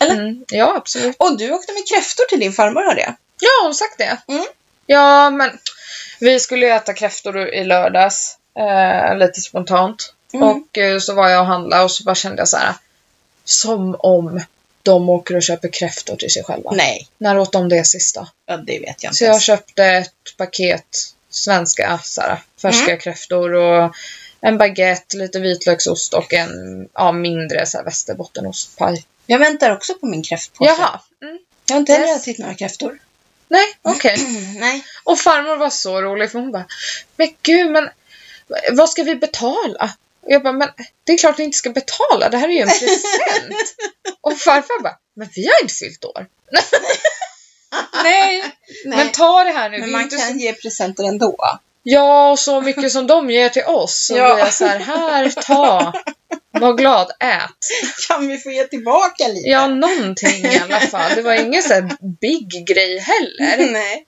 [SPEAKER 2] Eller?
[SPEAKER 1] Mm, ja, absolut.
[SPEAKER 2] Och du åkte med kräftor till din farmor, hörde jag.
[SPEAKER 1] Ja, hon har sagt det.
[SPEAKER 2] Mm.
[SPEAKER 1] Ja, men Vi skulle ju äta kräftor i lördags, eh, lite spontant.
[SPEAKER 2] Mm.
[SPEAKER 1] Och eh, så var jag och handlade och så bara kände jag så här. Som om de åker och köper kräftor till sig själva.
[SPEAKER 2] Nej,
[SPEAKER 1] När åt de det sista?
[SPEAKER 2] ja, det vet jag inte.
[SPEAKER 1] Så jag
[SPEAKER 2] ens.
[SPEAKER 1] köpte ett paket svenska så här, färska kräftor och en baguette, lite vitlöksost och en ja, mindre så här, västerbottenostpaj.
[SPEAKER 2] Jag väntar också på min kräftpåse.
[SPEAKER 1] Jaha. Mm.
[SPEAKER 2] Jag har inte heller
[SPEAKER 1] Yes.
[SPEAKER 2] ätit några kräftor.
[SPEAKER 1] Nej, okej.
[SPEAKER 2] Mm, Nej.
[SPEAKER 1] Och farmor var så rolig för hon bara Men gud, men vad ska vi betala? Och jag bara, men det är klart ni inte ska betala, det här
[SPEAKER 2] [laughs]
[SPEAKER 1] är ju en present. och farfar bara, men vi har inte fyllt
[SPEAKER 2] [laughs]
[SPEAKER 1] år. Nej, men
[SPEAKER 2] Men,
[SPEAKER 1] ta det här nu.
[SPEAKER 2] men
[SPEAKER 1] vi är
[SPEAKER 2] man
[SPEAKER 1] inte
[SPEAKER 2] kan
[SPEAKER 1] så...
[SPEAKER 2] ge presenter [laughs] ändå.
[SPEAKER 1] Ja, och så mycket som de ger till oss. Så
[SPEAKER 2] Ja.
[SPEAKER 1] blir jag så här, här, ta. Var glad, ät.
[SPEAKER 2] Kan vi få ge tillbaka lite?
[SPEAKER 1] Ja, någonting i alla fall. Det var ingen så här big grej
[SPEAKER 2] [laughs]
[SPEAKER 1] heller.
[SPEAKER 2] Nej.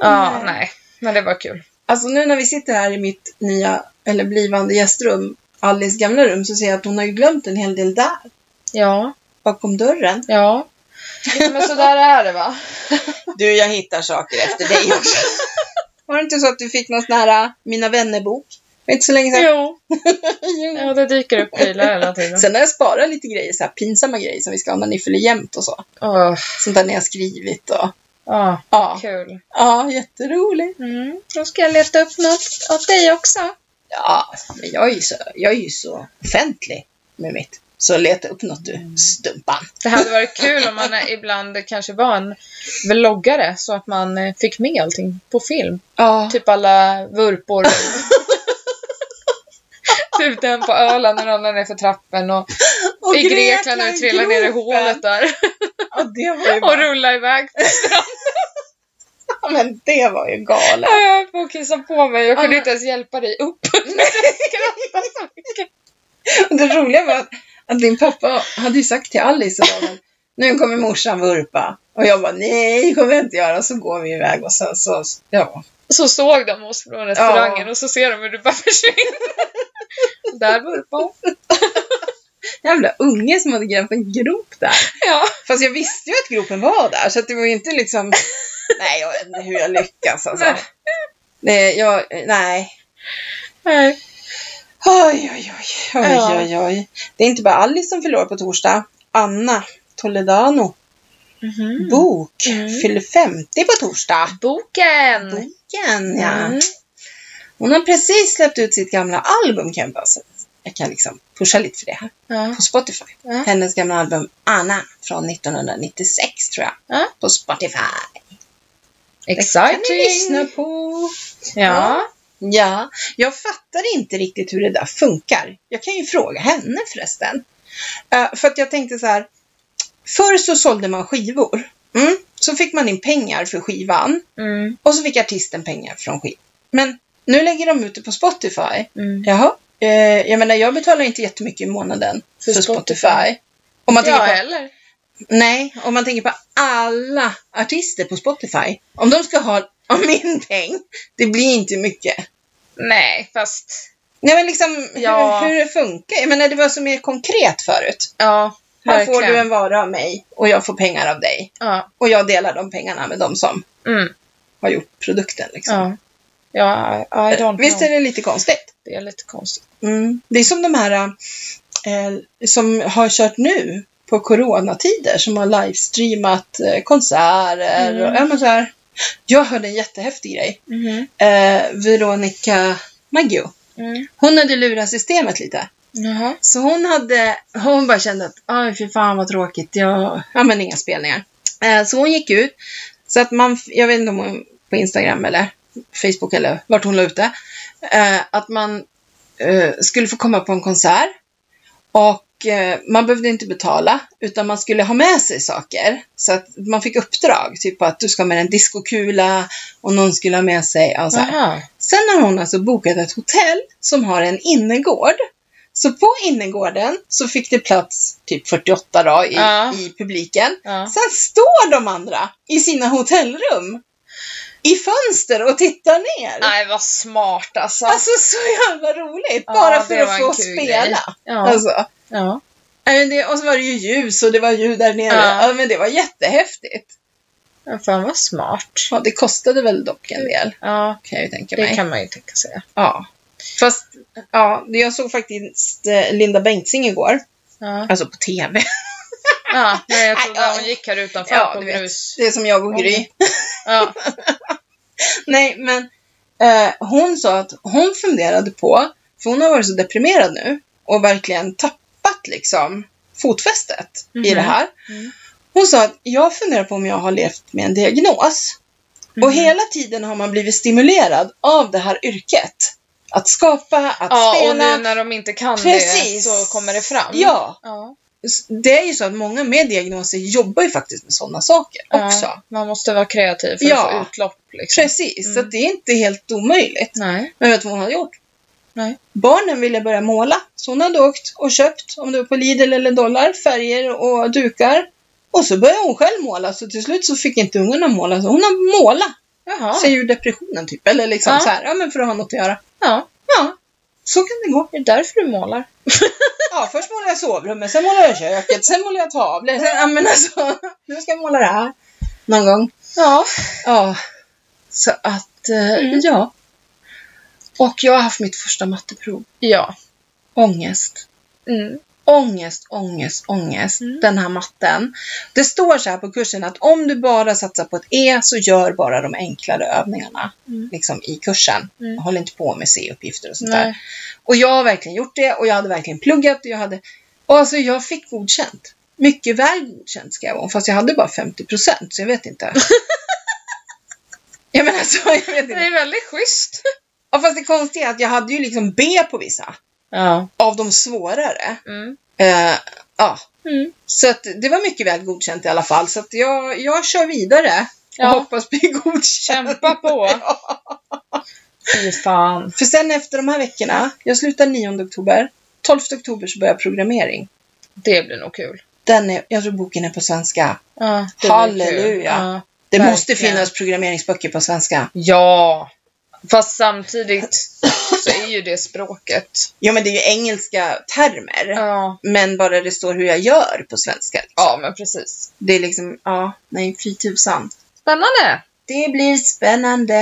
[SPEAKER 1] Ja,
[SPEAKER 2] Nej.
[SPEAKER 1] nej. Men det var kul.
[SPEAKER 2] Alltså nu när vi sitter här i mitt nya, eller blivande gästrum, Alice gamla rum, så ser jag att hon har ju glömt en hel del där.
[SPEAKER 1] Ja,
[SPEAKER 2] Bakom dörren.
[SPEAKER 1] ja. Men så där är det va?
[SPEAKER 2] Du, jag hittar saker efter dig också. [laughs] Var det inte så att du fick någon sån här äh, Mina vännerbok? Det var inte så länge sedan.
[SPEAKER 1] Jo,
[SPEAKER 2] [laughs]
[SPEAKER 1] ja, det dyker upp bilar hela tiden.
[SPEAKER 2] Sen har jag sparat lite grejer, så här pinsamma grejer som vi ska ha när ni fyller jämt och så.
[SPEAKER 1] Åh,
[SPEAKER 2] Sånt där ni har skrivit och...
[SPEAKER 1] ja,
[SPEAKER 2] Ja,
[SPEAKER 1] kul.
[SPEAKER 2] ja jätteroligt.
[SPEAKER 1] Mm, då ska jag leta upp något åt dig också.
[SPEAKER 2] Ja, men jag är ju så, jag är ju så offentlig med mitt. Så leta upp något
[SPEAKER 1] Mm.
[SPEAKER 2] du, stumpan.
[SPEAKER 1] Det hade varit kul om man eh, ibland kanske var en vloggare så att man eh, fick med allting på film.
[SPEAKER 2] Ja.
[SPEAKER 1] Typ alla [laughs] vurpor. typ den på Öland när ramlar ner för trappen och, i Grekland när du trillar ner i hålet där
[SPEAKER 2] Ja, det var
[SPEAKER 1] [laughs]
[SPEAKER 2] ju
[SPEAKER 1] och
[SPEAKER 2] bara,
[SPEAKER 1] rullar iväg.
[SPEAKER 2] Ja, men det var ju galet.
[SPEAKER 1] Ja, Jag höll på att kissa på mig. Jag kunde
[SPEAKER 2] Ja.
[SPEAKER 1] inte ens hjälpa dig upp. [laughs]
[SPEAKER 2] Och Det roliga var att, att din pappa hade ju sagt till Alice och dagen, nu kommer morsan vurpa. Och jag bara, nej, det kommer jag inte göra. Och så går vi iväg och sen så, ja.
[SPEAKER 1] Så såg de oss från restaurangen
[SPEAKER 2] Ja.
[SPEAKER 1] och så ser de hur du bara försvinner. [laughs] Där vurpade hon.
[SPEAKER 2] [laughs] Jävla unge som hade grävt en grop där.
[SPEAKER 1] Ja.
[SPEAKER 2] Fast jag visste ju att gropen var där, så att det var ju inte [laughs] liksom... Nej, jag vet inte hur jag lyckas alltså.
[SPEAKER 1] Nej.
[SPEAKER 2] Nej, jag... Nej.
[SPEAKER 1] Nej.
[SPEAKER 2] Oj, oj, oj. Oj,
[SPEAKER 1] Ja.
[SPEAKER 2] oj, oj. Det är inte bara Alice som förlorar på torsdag. Anna Toledano, bok,
[SPEAKER 1] Mm.
[SPEAKER 2] fyller 50 på torsdag. Mm.
[SPEAKER 1] Boken!
[SPEAKER 2] Boken, ja.
[SPEAKER 1] Mm.
[SPEAKER 2] Hon har precis släppt ut sitt gamla album, kan jag bara säga. Jag kan liksom pusha lite för det här
[SPEAKER 1] Ja.
[SPEAKER 2] på Spotify.
[SPEAKER 1] Ja.
[SPEAKER 2] Hennes gamla album Anna från 1996 tror jag.
[SPEAKER 1] Ja.
[SPEAKER 2] På Spotify. Det kan ni lyssna
[SPEAKER 1] Exciting!
[SPEAKER 2] på.
[SPEAKER 1] Ja.
[SPEAKER 2] Ja, jag fattar inte riktigt hur det där funkar. Jag kan ju fråga henne förresten. Eh, för att jag tänkte så här. Förr så sålde man skivor. Mm. Så fick man in pengar för skivan.
[SPEAKER 1] Mm,
[SPEAKER 2] Och så fick artisten pengar från skivan. Men nu lägger de ut det på Spotify.
[SPEAKER 1] mm.
[SPEAKER 2] Jaha. Eh, jag menar, jag betalar inte jättemycket i månaden för,
[SPEAKER 1] För
[SPEAKER 2] Spotify.
[SPEAKER 1] Spotify.
[SPEAKER 2] Om man
[SPEAKER 1] Inte jag
[SPEAKER 2] tänker på
[SPEAKER 1] heller.
[SPEAKER 2] Nej, om man tänker på alla artister på Spotify. Om de ska ha [laughs] av min peng, det blir inte mycket.
[SPEAKER 1] Nej, fast...
[SPEAKER 2] Nej men liksom
[SPEAKER 1] Ja.
[SPEAKER 2] hur, hur det funkar. Jag menar det var så mer konkret förut.
[SPEAKER 1] Ja,
[SPEAKER 2] Här
[SPEAKER 1] verkligen.
[SPEAKER 2] får du en vara av mig och jag får pengar av dig.
[SPEAKER 1] Ja.
[SPEAKER 2] Och jag delar de pengarna med de som
[SPEAKER 1] Mm.
[SPEAKER 2] har gjort produkten. Liksom.
[SPEAKER 1] Ja. Ja, I- I don't
[SPEAKER 2] Visst är
[SPEAKER 1] know.
[SPEAKER 2] det lite konstigt?
[SPEAKER 1] Det är lite konstigt.
[SPEAKER 2] Mm. Det är som de här eh, som har kört nu på coronatider som har livestreamat eh, konserter.
[SPEAKER 1] Mm.
[SPEAKER 2] Och, ja, men så här. Jag hörde en jättehäftig grej. Eh, Veronica Maggio.
[SPEAKER 1] Mhm. Mm.
[SPEAKER 2] Hon hade lurat systemet lite.
[SPEAKER 1] Jaha.
[SPEAKER 2] Så hon hade, hon bara kände att, aj fy fan vad tråkigt, jag, ja men inga spelningar. Eh, så hon gick ut, så att man, jag vet inte om hon på Instagram eller Facebook eller vart hon la ut det, eh, att man eh, skulle få komma på en konsert och eh, man behövde inte betala utan man skulle ha med sig saker. Så att man fick uppdrag, typ att du ska ha med en diskokula och någon skulle ha med sig, ja, så här.
[SPEAKER 1] Jaha.
[SPEAKER 2] Sen har hon alltså bokat ett hotell som har en innergård. Så på innergården så fick det plats typ 48 då, i,
[SPEAKER 1] Ja.
[SPEAKER 2] i publiken.
[SPEAKER 1] Ja.
[SPEAKER 2] Sen står de andra i sina hotellrum i fönster och tittar ner.
[SPEAKER 1] Nej, vad smart alltså.
[SPEAKER 2] Alltså så jävla roligt!
[SPEAKER 1] Ja,
[SPEAKER 2] bara för
[SPEAKER 1] det var
[SPEAKER 2] att
[SPEAKER 1] en
[SPEAKER 2] få
[SPEAKER 1] kul grej.
[SPEAKER 2] spela.
[SPEAKER 1] Ja.
[SPEAKER 2] Alltså.
[SPEAKER 1] Ja.
[SPEAKER 2] Nej, men det, och så var det ju ljus och det var ljud där nere.
[SPEAKER 1] Ja.
[SPEAKER 2] Ja. men det var jättehäftigt.
[SPEAKER 1] Ja, fan vad smart.
[SPEAKER 2] Ja, det kostade väl dock en del,
[SPEAKER 1] Ja,
[SPEAKER 2] kan jag ju tänka mig.
[SPEAKER 1] det kan man ju tänka sig.
[SPEAKER 2] Ja. Fast, ja, jag såg faktiskt eh, Linda Bengtzing igår.
[SPEAKER 1] Ja,
[SPEAKER 2] Alltså på TV.
[SPEAKER 1] ja nej, jag trodde
[SPEAKER 2] Ja.
[SPEAKER 1] hon gick här utanför
[SPEAKER 2] Ja,
[SPEAKER 1] på
[SPEAKER 2] du vet.
[SPEAKER 1] grus.
[SPEAKER 2] Det är som jag och Gry.
[SPEAKER 1] Ja.
[SPEAKER 2] [laughs] Nej, men eh, hon sa att hon funderade på, för hon har varit så deprimerad nu och verkligen tappat liksom fotfästet i
[SPEAKER 1] Mhm.
[SPEAKER 2] det här.
[SPEAKER 1] Mm.
[SPEAKER 2] Hon sa att jag funderar på om jag har levt med en diagnos. Och
[SPEAKER 1] Mhm.
[SPEAKER 2] hela tiden har man blivit stimulerad av det här yrket. Att skapa, att
[SPEAKER 1] ja, och
[SPEAKER 2] spela.
[SPEAKER 1] nu när de inte kan det
[SPEAKER 2] Precis.
[SPEAKER 1] så kommer det fram.
[SPEAKER 2] Ja,
[SPEAKER 1] Ja,
[SPEAKER 2] s- det är ju så att många med diagnoser jobbar ju faktiskt med sådana saker
[SPEAKER 1] ja.
[SPEAKER 2] också.
[SPEAKER 1] Man måste vara kreativ för
[SPEAKER 2] Ja.
[SPEAKER 1] att få utlopp. Liksom.
[SPEAKER 2] Precis, så
[SPEAKER 1] Mm.
[SPEAKER 2] att det är inte helt omöjligt.
[SPEAKER 1] Nej.
[SPEAKER 2] Men vet du vad hon hade gjort?
[SPEAKER 1] Nej.
[SPEAKER 2] Barnen ville börja måla, så hon hade åkt och köpt, om det var på Lidl eller Dollar, färger och dukar. Och så började hon själv måla, så till slut så fick inte ungarna måla, så hon har målat
[SPEAKER 1] Jaha.
[SPEAKER 2] sig ur depressionen typ. Eller liksom
[SPEAKER 1] Ja.
[SPEAKER 2] så här, ja men för att ha något att göra.
[SPEAKER 1] Ja.
[SPEAKER 2] Ja, så kan det gå.
[SPEAKER 1] Det är därför du målar.
[SPEAKER 2] Ja, först målar jag sovrummet, sen målar jag köket, sen målar jag tavlor, sen, ja men alltså, [laughs] nu ska jag måla det här. Någon gång.
[SPEAKER 1] Ja.
[SPEAKER 2] Ja. Så att, eh,
[SPEAKER 1] Mm.
[SPEAKER 2] ja. Och jag har haft mitt första matteprov.
[SPEAKER 1] Ja.
[SPEAKER 2] Ångest.
[SPEAKER 1] Mm.
[SPEAKER 2] ångest, ångest, ångest,
[SPEAKER 1] Mm.
[SPEAKER 2] den här matten. Det står så här på kursen att om du bara satsar på ett E så gör bara de enklare övningarna
[SPEAKER 1] Mm.
[SPEAKER 2] liksom i kursen.
[SPEAKER 1] Mm.
[SPEAKER 2] Håll inte på med C-uppgifter och sånt där.
[SPEAKER 1] Nej.
[SPEAKER 2] Och jag har verkligen gjort det och jag hade verkligen pluggat och jag hade, och alltså jag fick godkänt. Mycket väl godkänt skrev hon, fast jag hade bara 50 procent så jag vet inte.
[SPEAKER 1] [laughs]
[SPEAKER 2] jag menar alltså, jag vet
[SPEAKER 1] Det
[SPEAKER 2] inte.
[SPEAKER 1] är väldigt schysst.
[SPEAKER 2] Ja, fast det konstiga är att jag hade ju liksom B på vissa,
[SPEAKER 1] Ja.
[SPEAKER 2] av de svårare.
[SPEAKER 1] Mm.
[SPEAKER 2] Eh, ja,
[SPEAKER 1] Mm.
[SPEAKER 2] så att det var mycket väl godkänt i alla fall. Så att jag, jag kör vidare och
[SPEAKER 1] Ja.
[SPEAKER 2] hoppas bli godkänd.
[SPEAKER 1] Kämpa på.
[SPEAKER 2] [laughs] Ja.
[SPEAKER 1] Fy fan.
[SPEAKER 2] För sen efter de här veckorna, jag slutar 9 oktober. 12 oktober så börjar programmering.
[SPEAKER 1] Det blir nog kul.
[SPEAKER 2] Den är, jag tror boken är på svenska.
[SPEAKER 1] Ja, det blir kul.
[SPEAKER 2] Halleluja.
[SPEAKER 1] Ja.
[SPEAKER 2] Det
[SPEAKER 1] Verkligen.
[SPEAKER 2] måste finnas programmeringsböcker på svenska.
[SPEAKER 1] Ja, fast [laughs] samtidigt så är ju det språket.
[SPEAKER 2] Ja, men det är ju engelska termer.
[SPEAKER 1] Ja,
[SPEAKER 2] Men bara det står hur jag gör på svenska.
[SPEAKER 1] ja men precis.
[SPEAKER 2] Det är liksom, ja, nej, fy tusan.
[SPEAKER 1] Spännande!
[SPEAKER 2] Det blir spännande.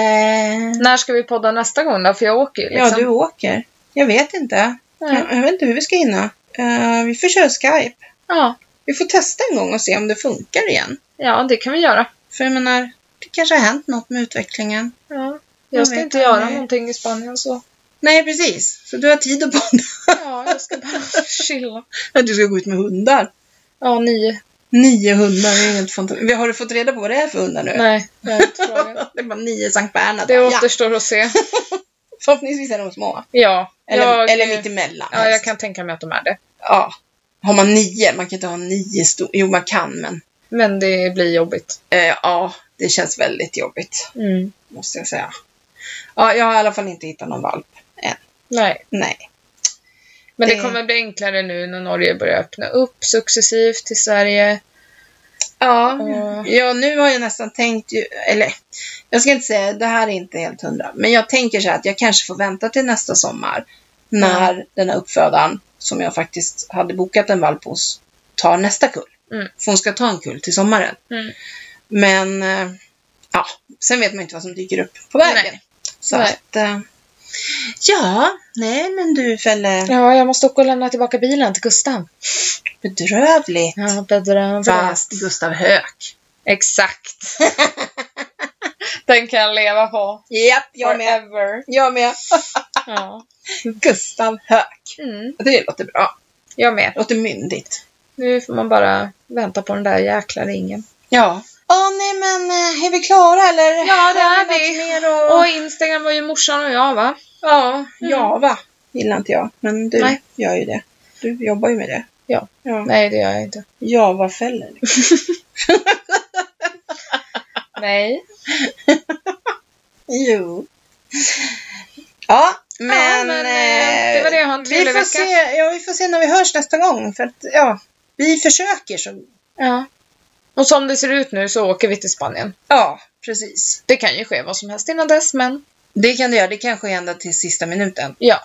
[SPEAKER 1] När ska vi podda nästa gång då? För jag åker ju liksom.
[SPEAKER 2] Ja, du åker. Jag vet inte.
[SPEAKER 1] Ja.
[SPEAKER 2] Jag vet inte hur vi ska hinna. Eh, vi får köra Skype.
[SPEAKER 1] Ja,
[SPEAKER 2] Vi får testa en gång och se om det funkar igen.
[SPEAKER 1] ja, det kan vi göra.
[SPEAKER 2] För jag menar, det kanske har hänt något med utvecklingen.
[SPEAKER 1] Ja.
[SPEAKER 2] Jag
[SPEAKER 1] Jag ska
[SPEAKER 2] vet
[SPEAKER 1] inte göra
[SPEAKER 2] aldrig.
[SPEAKER 1] någonting i Spanien [laughs] så.
[SPEAKER 2] Nej, precis. Så du har tid att bonda.
[SPEAKER 1] Ja, jag ska bara [laughs] chilla.
[SPEAKER 2] [laughs] Du ska gå ut med hundar.
[SPEAKER 1] Ja, nio.
[SPEAKER 2] Nio hundar, det är helt fantastiskt. Har du fått reda på vad det är för hundar nu?
[SPEAKER 1] Nej, jag har inte frågat.
[SPEAKER 2] [laughs] Det är bara nio Sankt Bernhard.
[SPEAKER 1] Det
[SPEAKER 2] ja.
[SPEAKER 1] återstår att se.
[SPEAKER 2] Förhoppningsvis är de små.
[SPEAKER 1] Ja,
[SPEAKER 2] Eller,
[SPEAKER 1] jag,
[SPEAKER 2] eller mittemellan.
[SPEAKER 1] ja, jag
[SPEAKER 2] helst.
[SPEAKER 1] kan tänka mig att de är det.
[SPEAKER 2] ja. Har man nio, man kan inte ha nio stora. Jo, man kan, men
[SPEAKER 1] Men det blir jobbigt.
[SPEAKER 2] eh, ja, det känns väldigt jobbigt.
[SPEAKER 1] Mm.
[SPEAKER 2] måste jag säga. Ja, jag har i alla fall inte hittat någon valp.
[SPEAKER 1] Nej.
[SPEAKER 2] Nej.
[SPEAKER 1] Men det
[SPEAKER 2] Det-
[SPEAKER 1] kommer bli enklare nu när Norge börjar öppna upp successivt till Sverige.
[SPEAKER 2] Ja.
[SPEAKER 1] Och-
[SPEAKER 2] ja, nu har jag nästan tänkt ju, eller jag ska inte säga, det här är inte helt hundra, men jag tänker så här att jag kanske får vänta till nästa sommar när den här uppfödaren som jag faktiskt hade bokat en valp hos tar nästa kull.
[SPEAKER 1] Mm.
[SPEAKER 2] För hon ska ta en kull till sommaren.
[SPEAKER 1] Mm.
[SPEAKER 2] Men eh, ja, sen vet man inte vad som dyker upp på vägen.
[SPEAKER 1] Nej.
[SPEAKER 2] Så
[SPEAKER 1] Nej.
[SPEAKER 2] att, eh, ja, nej men du Felle,
[SPEAKER 1] Ja, jag måste åka och lämna tillbaka bilen till Gustav.
[SPEAKER 2] bedrövligt.
[SPEAKER 1] Ja, bedrövad.
[SPEAKER 2] Fast Gustav Höök.
[SPEAKER 1] Exakt. [laughs] Den kan jag leva på.
[SPEAKER 2] Japp,
[SPEAKER 1] [laughs] Forever.
[SPEAKER 2] Jag med.
[SPEAKER 1] Ja.
[SPEAKER 2] Gustav Höök.
[SPEAKER 1] Mm,
[SPEAKER 2] Det låter bra.
[SPEAKER 1] jag med.
[SPEAKER 2] Det låter myndigt.
[SPEAKER 1] Nu får man bara vänta på den där jäkla ringen.
[SPEAKER 2] Ja. Ja, nej men eh, är vi klara eller?
[SPEAKER 1] Ja, det är
[SPEAKER 2] något
[SPEAKER 1] vi.
[SPEAKER 2] Mer och...
[SPEAKER 1] Och Instagram var ju morsan och jag va? Mm.
[SPEAKER 2] Ja, Java gillar inte jag. Men du
[SPEAKER 1] Nej.
[SPEAKER 2] gör ju det. Du jobbar ju med det.
[SPEAKER 1] Ja.
[SPEAKER 2] ja.
[SPEAKER 1] Nej, det gör jag inte.
[SPEAKER 2] Javafällor. liksom.
[SPEAKER 1] Nej.
[SPEAKER 2] Jo. Ja, men...
[SPEAKER 1] men, eh, det var det jag har en
[SPEAKER 2] vi
[SPEAKER 1] trevlig
[SPEAKER 2] får
[SPEAKER 1] vecka.
[SPEAKER 2] se, ja, vi får se när vi hörs nästa gång. För att, ja, vi försöker så.
[SPEAKER 1] Ja. Och som det ser ut nu så åker vi till Spanien.
[SPEAKER 2] Ja, precis.
[SPEAKER 1] Det kan ju ske vad som helst innan dess, men
[SPEAKER 2] Det kan det göra. Det kan ske ända till sista minuten.
[SPEAKER 1] ja.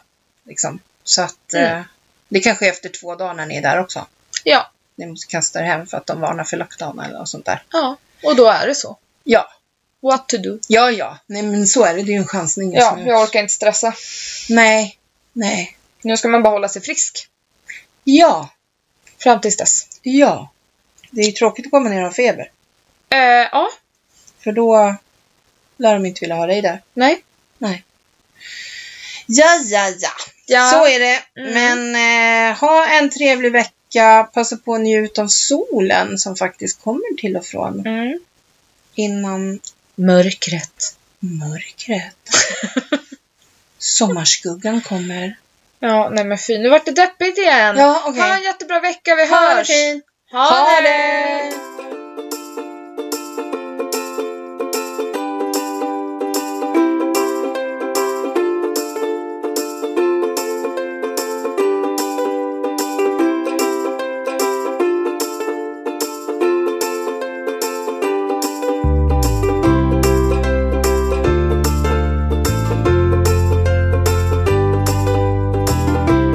[SPEAKER 2] Liksom. Så att
[SPEAKER 1] Mm.
[SPEAKER 2] eh, det kan ske efter två dagar när ni är där också.
[SPEAKER 1] Ja.
[SPEAKER 2] Ni måste kasta er hem för att de varnar för lockdown eller något sånt där.
[SPEAKER 1] Ja, och då är det så.
[SPEAKER 2] Ja,
[SPEAKER 1] What to do?
[SPEAKER 2] ja, ja. Nej, men så är det. Det är ju en chansning.
[SPEAKER 1] Ja,
[SPEAKER 2] alltså.
[SPEAKER 1] jag orkar inte stressa.
[SPEAKER 2] Nej, nej.
[SPEAKER 1] Nu ska man bara hålla sig frisk.
[SPEAKER 2] Ja,
[SPEAKER 1] Fram tills dess.
[SPEAKER 2] ja. Det är ju tråkigt att komma ner och ha feber.
[SPEAKER 1] Eh, ja.
[SPEAKER 2] För då lär de inte vilja ha dig där.
[SPEAKER 1] Nej.
[SPEAKER 2] Nej. Ja, ja, ja.
[SPEAKER 1] Ja.
[SPEAKER 2] Så är det.
[SPEAKER 1] Mm.
[SPEAKER 2] Men eh, ha en trevlig vecka. Passa på att njuta av solen som faktiskt kommer till och från
[SPEAKER 1] Mm.
[SPEAKER 2] innan
[SPEAKER 1] Mörkret.
[SPEAKER 2] [laughs] mörkret. Sommarskuggan kommer.
[SPEAKER 1] Ja, nej men fy. Nu vart det deppigt igen.
[SPEAKER 2] Ja, okej.
[SPEAKER 1] Ha en jättebra vecka. Vi
[SPEAKER 2] Ha det
[SPEAKER 1] hörs.
[SPEAKER 2] fint.
[SPEAKER 1] Ha
[SPEAKER 2] Ha
[SPEAKER 1] det!
[SPEAKER 2] det!